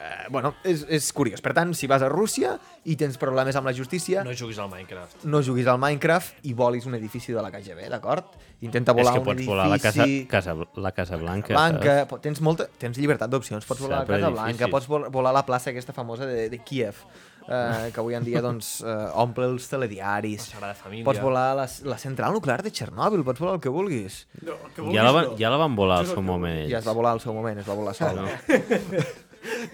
S2: Eh, bueno, és, és curiós. Per tant, si vas a Rússia i tens problemes amb la justícia,
S5: No
S2: no,
S5: juguis al Minecraft.
S2: no juguis al Minecraft i volis un edifici de la KGB, d'acord? Intenta
S3: és
S2: volar
S3: que
S2: un
S3: pots
S2: edifici...
S3: volar a la Casa, casa, la Casa Blanca.
S2: Blanca, po- tens, molta, tens llibertat d'opcions, pots volar a la
S3: eh? Sempre
S2: Casa Blanca,
S3: edificis.
S2: pots vol- volar a la plaça aquesta famosa de, de Kiev, eh, que avui en dia doncs, eh, omple els telediaris,
S5: La Sagrada Família.
S2: pots volar a la, la central nuclear de Txernòbil, pots volar el que vulguis.
S6: No, que
S3: Saps? Ja la, van, ja la van volar al seu moment ells.
S2: Ja es va volar al seu moment, es va volar sol. No.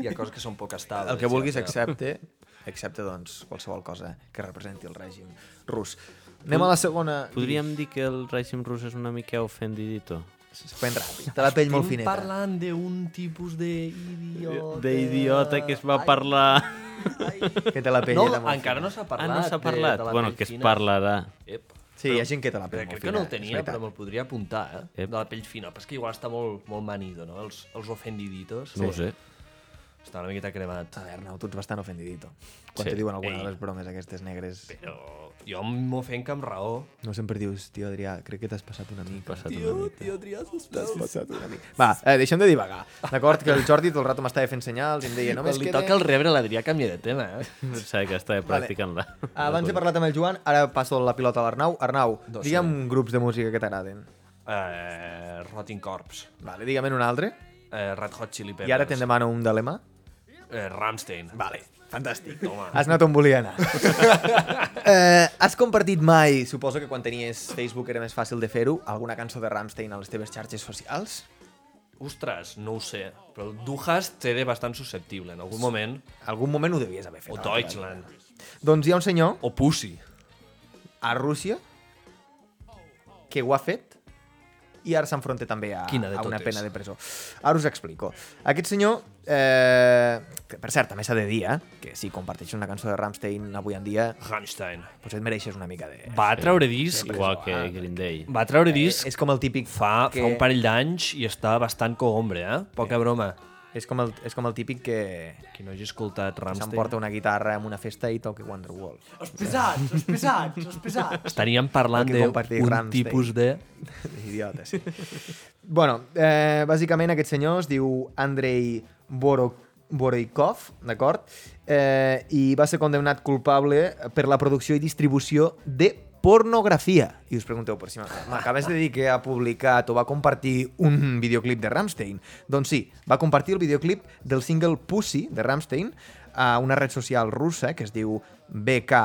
S5: Hi ha coses que són poc estables.
S2: El que
S5: ja,
S2: vulguis,
S5: però-
S2: excepte, excepte doncs, qualsevol cosa que representi el règim rus. Anem a la segona...
S3: Podríem dir que el règim rus és una mica ofendidito.
S2: Ben ràpid, te la pell molt fineta.
S5: parlant d'un tipus d'idiota...
S3: D'idiota que es va parlar...
S2: Que te la pell
S5: No,
S2: era molt
S5: encara no s'ha
S3: Ah,
S5: parlat.
S3: no s'ha
S5: de-
S3: parlat?
S5: de la
S3: Bueno,
S5: pell
S3: que es
S5: fina.
S3: parlarà.
S5: Ep.
S2: Sí, hi ha gent que te la pell
S5: Crec
S2: molt
S5: que no el
S2: fineta, és
S5: tenia,
S2: veritat.
S5: però me'l podria apuntar, eh?
S3: Ep.
S5: De la pell fina. Però és que igual està molt, molt manido, no? Els, els ofendiditos.
S3: No ho sé.
S5: Està una miqueta cremat.
S2: A ver, Arnau, tu ets bastant ofendidito. Quan
S3: Sí.
S2: te diuen alguna
S5: Ei.
S2: de les bromes aquestes negres...
S5: Però jo m'ofenc amb raó.
S2: No sempre dius, tio Adrià, crec que t'has passat una mica.
S3: Passat una mica.
S2: T'has passat una mica. Va, eh, deixem de divagar. D'acord, que el Jordi tot el rato m'estava fent senyals i em
S5: *laughs*
S2: deia, només
S5: Quan li
S2: queda...
S5: toca el rebre, l'Adrià canvia de tema, eh? *laughs*
S3: Pensava que estava practicant-la.
S2: Abans he parlat amb el Joan, ara passo la pilota a l'Arnau. Arnau,
S5: Dos
S2: digue'm grups de música que t'agraden.
S5: eh Rotting Corps.
S2: Vale, digue'm en un altre.
S5: Eh, Red Hot Chili Peppers.
S2: I ara te'n demano un d'alemà.
S5: Eh, Ramstein. Vale. Fantàstic. Toma.
S2: Has anat on volia
S5: *laughs*
S2: anar. eh, has compartit mai, suposo que quan tenies Facebook era més fàcil de fer-ho, alguna cançó de Rammstein a les teves xarxes socials?
S5: Ostres, no ho sé. Però Duhas t'era bastant susceptible en algun moment.
S2: Algun moment ho devies haver fet.
S5: O
S2: no?
S5: Deutschland.
S2: Doncs hi ha un senyor
S5: O Pussy.
S2: a Rússia que ho ha fet i ara s'enfronta també a,
S5: Quina de
S2: a una
S5: totes.
S2: pena de presó. Ara us explico. Aquest senyor, eh, que per cert, també s'ha de dir, eh, que si comparteixes una cançó de Rammstein avui en dia,
S5: Rammstein.
S2: potser et mereixes una mica de...
S5: Va treure disc.
S3: Igual que Green Day.
S5: Va treure disc
S2: Eh, És com el típic
S5: fa,
S2: que...
S5: fa un parell d'anys i està bastant coombre, eh? Poca broma.
S2: És com el, és com el típic que
S5: Qui no hagi escoltat
S2: s'emporta
S5: Ramstein...
S2: una guitarra en una festa i toca Wonderwall.
S4: Els pesats, els pesats, els pesats.
S5: Estaríem parlant
S2: Perquè compartir
S5: d'un
S2: Rammstein.
S5: tipus de...
S2: *laughs* Idiota, sí. bueno, eh, bàsicament aquest senyor es diu Andrei Boro Boroikov, d'acord? Eh, I va ser condemnat culpable per la producció i distribució de pornografia. I us pregunteu, per si m'ha- m'acabes de dir que ha publicat o va compartir un videoclip de Rammstein. Doncs sí, va compartir el videoclip del single Pussy de Rammstein a una red social russa que es diu BK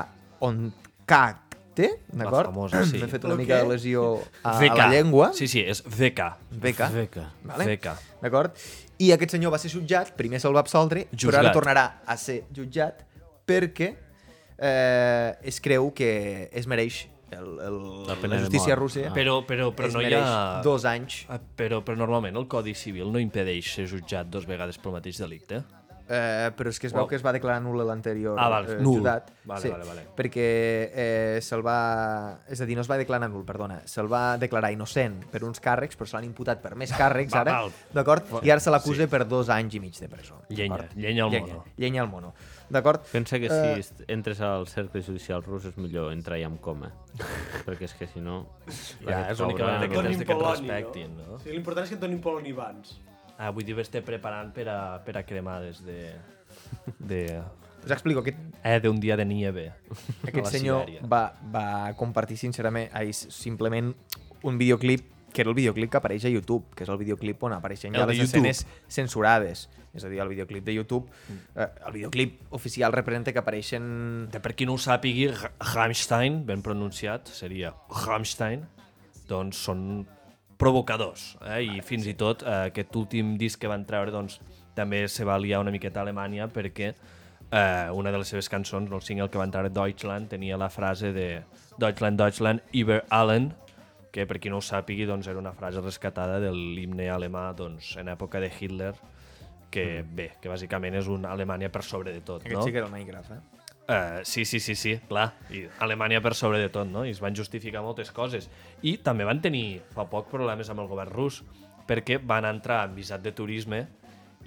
S2: Onkakte, d'acord?
S5: famosa, sí.
S2: M'he fet una mica de lesió a, a la
S5: VK.
S2: llengua.
S5: Sí, sí, és VK.
S2: Beca.
S3: Beca.
S2: Vale?
S5: Beca.
S2: D'acord? I aquest senyor va ser jutjat, primer se'l va absoldre, jutjat. però ara
S5: Jutjat.
S2: tornarà a ser jutjat perquè eh, es creu que es mereix el, el,
S3: La
S2: la,
S3: pena de
S2: justícia
S3: mort.
S2: russa.
S3: Ah.
S5: Però, però, però
S2: es
S5: no hi
S2: mereix
S5: ha...
S2: dos anys.
S5: Ah, Però, però normalment el Codi Civil no impedeix ser jutjat dos vegades pel mateix delicte.
S2: Eh, però és que es veu
S5: Uau.
S2: que es va declarar nul·la l'anterior
S5: Ah, val,
S2: eh,
S5: nul.
S2: jutjat.
S5: Vale, vale, vale.
S2: Perquè eh, se'l va... És a dir, no es va declarar nul, perdona. Se'l va declarar innocent per uns càrrecs, però se l'han imputat per més càrrecs
S5: Va,
S2: ara,
S5: val.
S2: d'acord? I ara se l'acusa per dos anys i mig de presó.
S5: Llenya,
S2: d'acord?
S5: llenya al
S2: llenya,
S5: mono.
S2: Llenya al mono. D'acord?
S3: Pensa
S2: Eh,
S3: que si est- entres al cercle judicial rus és millor entrar ja amb coma. perquè és que si no...
S5: Ja, és l'única manera que tens de que et respectin, no?
S4: Sí, L'important és que et donin Poloni abans.
S5: Ah, vull dir, estar preparant per a, per a cremades de... de...
S2: Us explico, aquest,
S5: Eh, d'un dia de nieve. a la
S2: aquest senyor
S5: Sibèria.
S2: va, va compartir sincerament, ai, simplement un videoclip que era el videoclip que apareix a YouTube, que és el videoclip on apareixen ja
S5: El de
S2: les
S5: YouTube.
S2: escenes censurades. És a dir, el videoclip de YouTube, eh, el videoclip oficial representa que apareixen...
S5: De per qui no ho sàpigui, Ra- Rammstein, ben pronunciat, seria Rammstein, doncs són provocadors. Eh? I fins i tot eh, aquest últim disc que van treure doncs, també se va liar una miqueta a Alemanya perquè eh, una de les seves cançons, no, el single que van treure Deutschland, tenia la frase de Deutschland, Deutschland, Iber Allen, que per qui no ho sàpigui doncs, era una frase rescatada de l'himne alemà doncs, en època de Hitler, que bé, que bàsicament és una Alemanya per sobre de tot.
S2: Aquest
S5: no?
S2: sí que era el Minecraft, eh?
S5: Eh, sí, sí, sí, sí, clar. I Alemanya per sobre de tot, no? I es van justificar moltes coses. I també van tenir fa poc problemes amb el govern rus, perquè van entrar en visat de turisme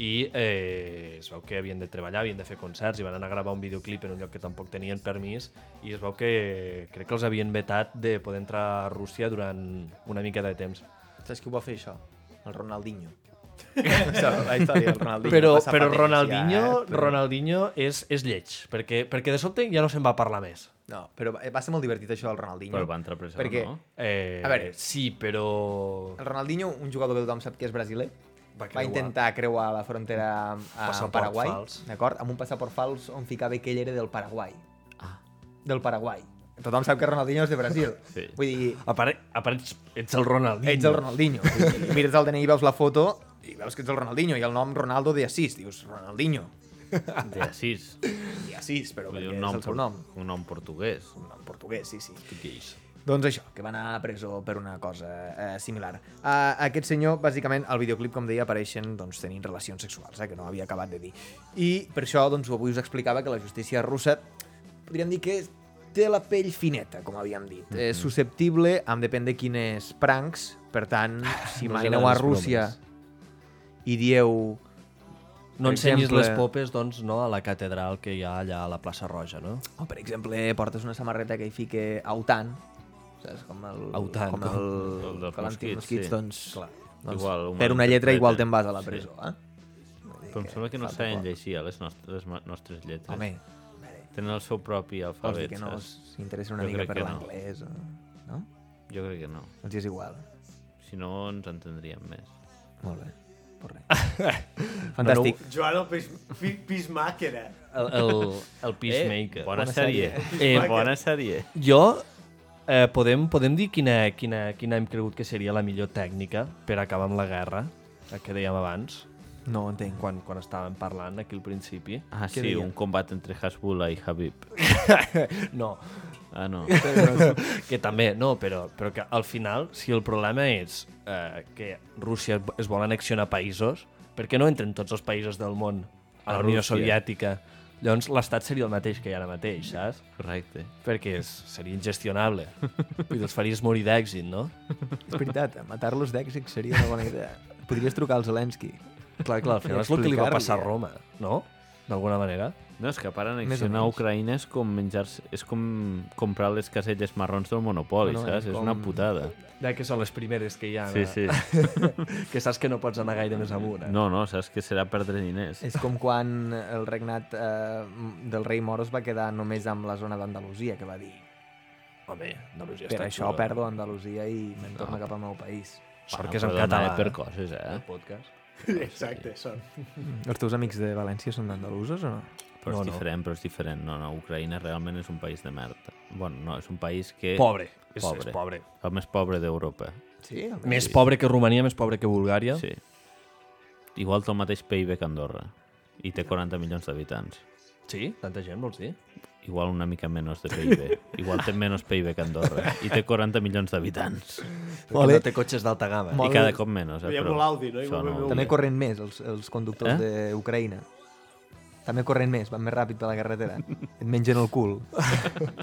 S5: i eh, es veu que havien de treballar, havien de fer concerts i van anar a gravar un videoclip en un lloc que tampoc tenien permís i es veu que crec que els havien vetat de poder entrar a Rússia durant una mica de temps.
S2: Saps qui ho va fer, això? El Ronaldinho. *laughs* Això, la història del Ronaldinho.
S5: Però,
S2: passa
S5: però
S2: patència,
S5: Ronaldinho,
S2: eh? Però-
S5: Ronaldinho és, és lleig, perquè, perquè de sobte ja no se'n va parlar més.
S2: No, però va va ser molt divertit això del Ronaldinho.
S3: Però va entrar a presó,
S2: perquè
S3: no?
S5: Eh,
S2: A veure.
S5: Sí, però...
S2: El Ronaldinho, un jugador que tothom sap que és brasiler,
S5: Va
S2: va,
S5: creuar.
S2: intentar creuar la frontera amb, amb
S5: Passaport
S2: Paraguai,
S5: fals.
S2: d'acord? Amb un passaport fals on ficava que ell era del Paraguai. Ah. Del Paraguai. Tothom sap que Ronaldinho és de Brasil.
S3: Sí.
S2: Vull dir,
S5: A part, a part ets, ets el Ronaldinho.
S2: ets el Ronaldinho. Vull dir, Mires el DNI, veus la foto i veus que ets el Ronaldinho i el nom Ronaldo de Assis. Dius, Ronaldinho.
S3: De Asís.
S2: De Assis, però
S3: Vull dir,
S2: perquè
S3: un
S2: és
S3: nom,
S2: el seu nom.
S3: Un nom portuguès.
S2: Un nom portuguès, sí, sí. Doncs això, que va anar a presó per una cosa eh, similar. Uh, aquest senyor, bàsicament, al videoclip, com deia, apareixen doncs, tenint relacions sexuals, eh, que no havia acabat de dir. I per això doncs, avui us explicava que la justícia russa, podríem dir que té la pell fineta, com havíem dit.
S5: Mhm.
S2: Mm -hmm. És susceptible, amb depèn de quines pranks, per
S5: *laughs*
S2: tant, si
S5: No
S2: no
S5: us
S2: m'aneu
S5: agraden
S2: a
S5: les
S2: Rússia i dieu...
S5: No
S2: Per
S5: ensenyis
S2: exemple-
S5: les popes, doncs, no, a la catedral que hi ha allà a la plaça Roja, no?
S2: O, Oh, per exemple, portes una samarreta que hi fique autant, saps? Com el...
S5: Autant,
S2: com
S5: com-
S2: el...
S3: El
S2: Com
S3: dels
S2: el,
S3: mosquits,
S2: mosquits,
S3: sí.
S2: doncs... Clar. doncs
S3: Igual,
S2: igual,
S3: ho
S2: per una lletra
S3: malinterpreten.
S2: igual te'n vas a la
S3: Sí.
S2: presó, eh?
S3: Però em sembla que no
S2: Falta
S3: saben
S2: poc.
S3: llegir a les nostres, les ma- nostres lletres.
S2: Home,
S3: Tenen el seu propi
S2: vols dir
S3: alfabet,
S2: que no
S3: saps?
S2: s'interessa una
S3: Jo
S2: mica
S3: crec
S2: per
S3: que no.
S2: l'anglès? o- No?
S3: Jo crec que no.
S2: Doncs ja és igual.
S3: Si no, ens entendríem més.
S2: Molt bé. Pues
S3: *laughs*
S2: res. Fantàstic.
S4: Joan el pis, pi, pismàquer, eh?
S5: El, el, el Peacemaker.
S3: Eh, bona, sèrie.
S5: Eh,
S3: Eh, bona sèrie.
S5: Jo, eh, podem, podem dir quina, quina, quina hem cregut que seria la millor tècnica per acabar amb la guerra, la que dèiem abans,
S2: No ho entenc.
S5: quan, quan estàvem parlant aquí al principi.
S3: Ah,
S2: Què
S3: sí,
S2: deia?
S3: un combat entre Hasbullah i Habib.
S5: No,
S3: Ah,
S5: *laughs*
S3: no.
S5: que també, no, però, però que al final, si el problema és eh, que Rússia es vol annexionar països, per què no entren tots els països del món a
S3: A
S5: la Unió
S3: Rússia.
S5: Soviètica? Llavors l'estat seria el mateix que hi ha ara mateix, saps?
S3: Correcte.
S5: Perquè és, seria *laughs* ingestionable. I els faries morir d'èxit, no?
S2: És veritat, matar-los d'èxit seria una bona idea. Podries trucar al Zelensky. eh?
S5: Clar, clar, al final és el que li va passar a Roma, no? D'alguna manera.
S3: No, és que per annexionar
S2: menys.
S3: Ucraïna és com menjar és com comprar les caselles marrons del Monopoli,
S2: Bueno,
S3: saps?
S2: és
S3: És una
S2: com-
S3: putada.
S5: Ja que són les primeres que hi ha.
S3: Sí, sí.
S5: Que saps que no pots anar gaire més amunt, eh?
S3: No, no, saps que serà perdre diners.
S2: És com quan el regnat eh, del rei Moro es va quedar només amb la zona d'Andalusia, que va dir
S5: Home, Andalusia
S2: per
S5: està eh?
S2: això
S5: xula.
S2: perdo Andalusia i me'n torno cap al meu país.
S5: Sort
S3: Bueno,
S5: que és en
S3: però dona
S5: català.
S3: Ah, Per coses, eh?
S5: El podcast.
S4: Exacte, són.
S2: Els teus amics de València són andalusos o no?
S3: Però
S5: No,
S3: és
S5: no.
S3: diferent, però és diferent. No, no, Ucraïna realment és un país de merda. Bueno, no, és un país que...
S5: Pobre. És,
S3: Pobre.
S5: és pobre.
S3: El més pobre d'Europa.
S2: Sí,
S5: Més pobre que Romania, més pobre que Bulgària.
S3: Sí. Igual té el mateix PIB que Andorra. I té 40 milions d'habitants.
S5: sí? Tanta gent, vols dir?
S3: Igual una mica menys de
S4: *laughs*
S3: PIB. Igual té menys PIB que Andorra. I té 40 milions d'habitants.
S5: Ole. No té cotxes d'alta gamma.
S3: I cada cop menys, eh?
S4: Hi ha
S3: Però
S4: molt Audi, no?
S3: això
S4: Igual
S3: no ho
S4: BMW.
S2: També
S3: diré.
S2: corren més els, els conductors eh? d'Ucraïna. També corren més, van més ràpid per la carretera. Et mengen el cul.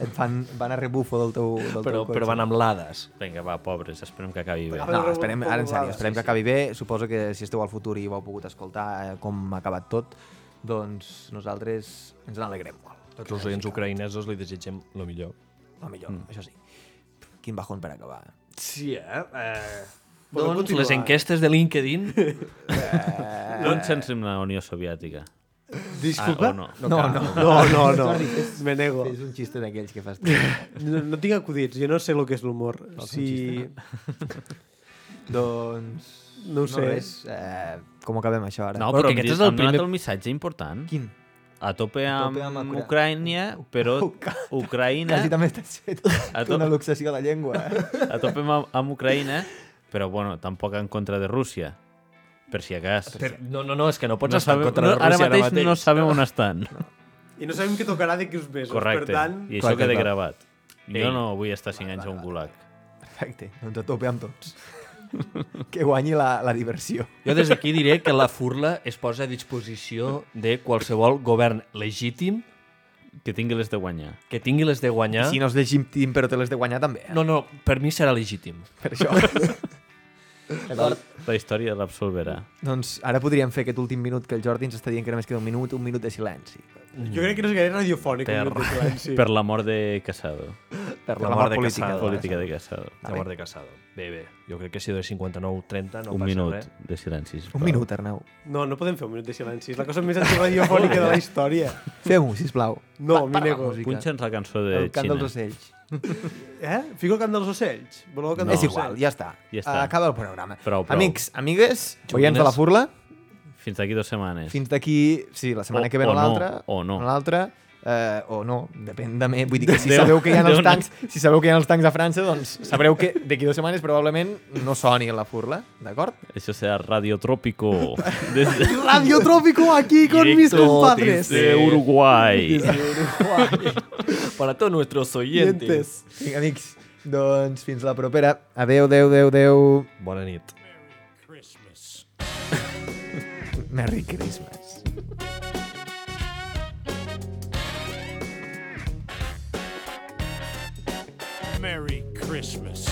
S2: Et fan, van a rebufo del teu, del
S5: Però,
S2: teu cotxe.
S5: però van amb l'Ades.
S3: Vinga, va, pobres, esperem que acabi bé.
S2: No, esperem, ara en sèrio, esperem que acabi bé. Suposo que si esteu al futur i ho heu pogut escoltar eh, com ha acabat tot, doncs nosaltres ens n'alegrem molt.
S5: Tots els oients ucraïnesos li desitgem el millor.
S2: El millor, mm. això sí. Quin bajón per acabar.
S5: Sí, eh? eh...
S4: Podem
S5: Doncs
S4: continuar.
S5: les
S3: Ah,
S5: enquestes de
S4: *laughs*
S5: LinkedIn...
S4: Eh.
S3: No ens sentim la Unió Soviètica.
S4: Disculpa?
S3: Ah, o no. Ah,
S2: No, no, no.
S4: No, no, no. Me nego.
S2: És un xiste d'aquells que fas tu.
S4: No, no tinc acudits, jo no sé el que és l'humor. Si...
S2: doncs...
S4: No ho sé.
S2: No res. Eh, com acabem això ara?
S3: No,
S5: Bueno,
S3: però
S5: que
S3: em
S5: aquest
S3: di-
S5: és el
S3: em donat
S5: primer-
S3: el missatge important.
S2: Quin?
S3: A tope amb,
S2: amb Ucra-
S3: Ucraïna,
S5: *laughs*
S3: però Ucraïna...
S2: Quasi també estàs fet
S3: A tot-
S2: una luxació de llengua. eh?
S3: A tope amb, amb Ucraïna, però bueno, tampoc en contra de Rússia. Per si a cas.
S5: Per... No, no, no, és que no pots
S3: No
S5: estar en
S3: sabem-
S5: contra de
S3: no,
S5: Rússia
S3: ara mateix, no sabem on estan.
S4: I no sabem què tocarà d'aquí uns mesos.
S3: Correcte.
S4: Per tant,
S3: I
S2: Clar
S3: això
S2: que
S3: queda
S2: no.
S3: gravat. Jo
S5: Ei.
S3: no vull estar 5 anys a un gulag.
S2: Perfecte, doncs a tope amb tots. que guanyi la, la diversió.
S5: Jo des d'aquí diré que la furla es posa a disposició de qualsevol govern legítim
S3: que tingui les de guanyar.
S5: Que tingui les de guanyar...
S2: Si no és legítim però te l'has de guanyar també. Eh?
S5: Eh? no, no, per mi serà legítim.
S2: Per això.
S3: La història l'absolverà.
S2: doncs ara podríem fer aquest últim minut que el Jordi ens està dient que només queda un minut, un minut de silenci.
S4: Jo crec que no és gaire radiofònic.
S5: Per-
S4: un minut de silenci.
S3: Per la mort de Casado.
S2: Per
S5: La
S2: la,
S5: mort
S2: mort
S5: de
S2: política.
S5: Casado.
S3: Política de Casado.
S5: La mort de Casado. Bé, bé. Jo crec que si de 59-30 no
S3: un
S5: passa
S3: minut
S5: res.
S3: de silenci. sisplau.
S2: Un minut, Arnau.
S4: No, no podem fer un minut de silenci. És la cosa més antiradiofònica de la història.
S2: Fem-ho, sisplau.
S4: No, m'hi
S2: para la
S4: nego.
S2: música.
S3: Punxa'ns la cançó de
S2: El cant
S3: Xina.
S2: dels ocells.
S4: Eh? Fico el cant dels ocells? Voleu el cant
S3: No.
S4: dels
S2: És igual, ja està.
S3: Ja està.
S2: Acaba el programa.
S3: Prou, prou.
S2: Amics, amigues, oients de la furla,
S3: Fins d'aquí dues setmanes.
S2: fins d'aquí, sí, la setmana
S3: O-
S2: que ve
S3: o
S2: o
S3: no,
S2: l'altra,
S3: o no.
S2: l'altra, eh, o no, depèn de mi. Vull dir que si
S3: Déu-
S2: sabeu que hi ha
S3: Déu
S2: els
S3: no.
S2: tancs, si sabeu que hi ha els tancs a França, doncs sabreu que d'aquí dues setmanes probablement no soni la furla, d'acord?
S3: Això serà Radio Trópico. Des de...
S2: Radio Trópico aquí con mis
S3: Directo
S2: compadres.
S3: Desde Uruguay.
S5: Para todos nuestros oyentes.
S2: Vinga, amics, doncs fins la propera. Adeu, adeu, adeu, adeu.
S5: Bona nit.
S6: Christmas.
S2: Merry Christmas.
S6: Merry Christmas.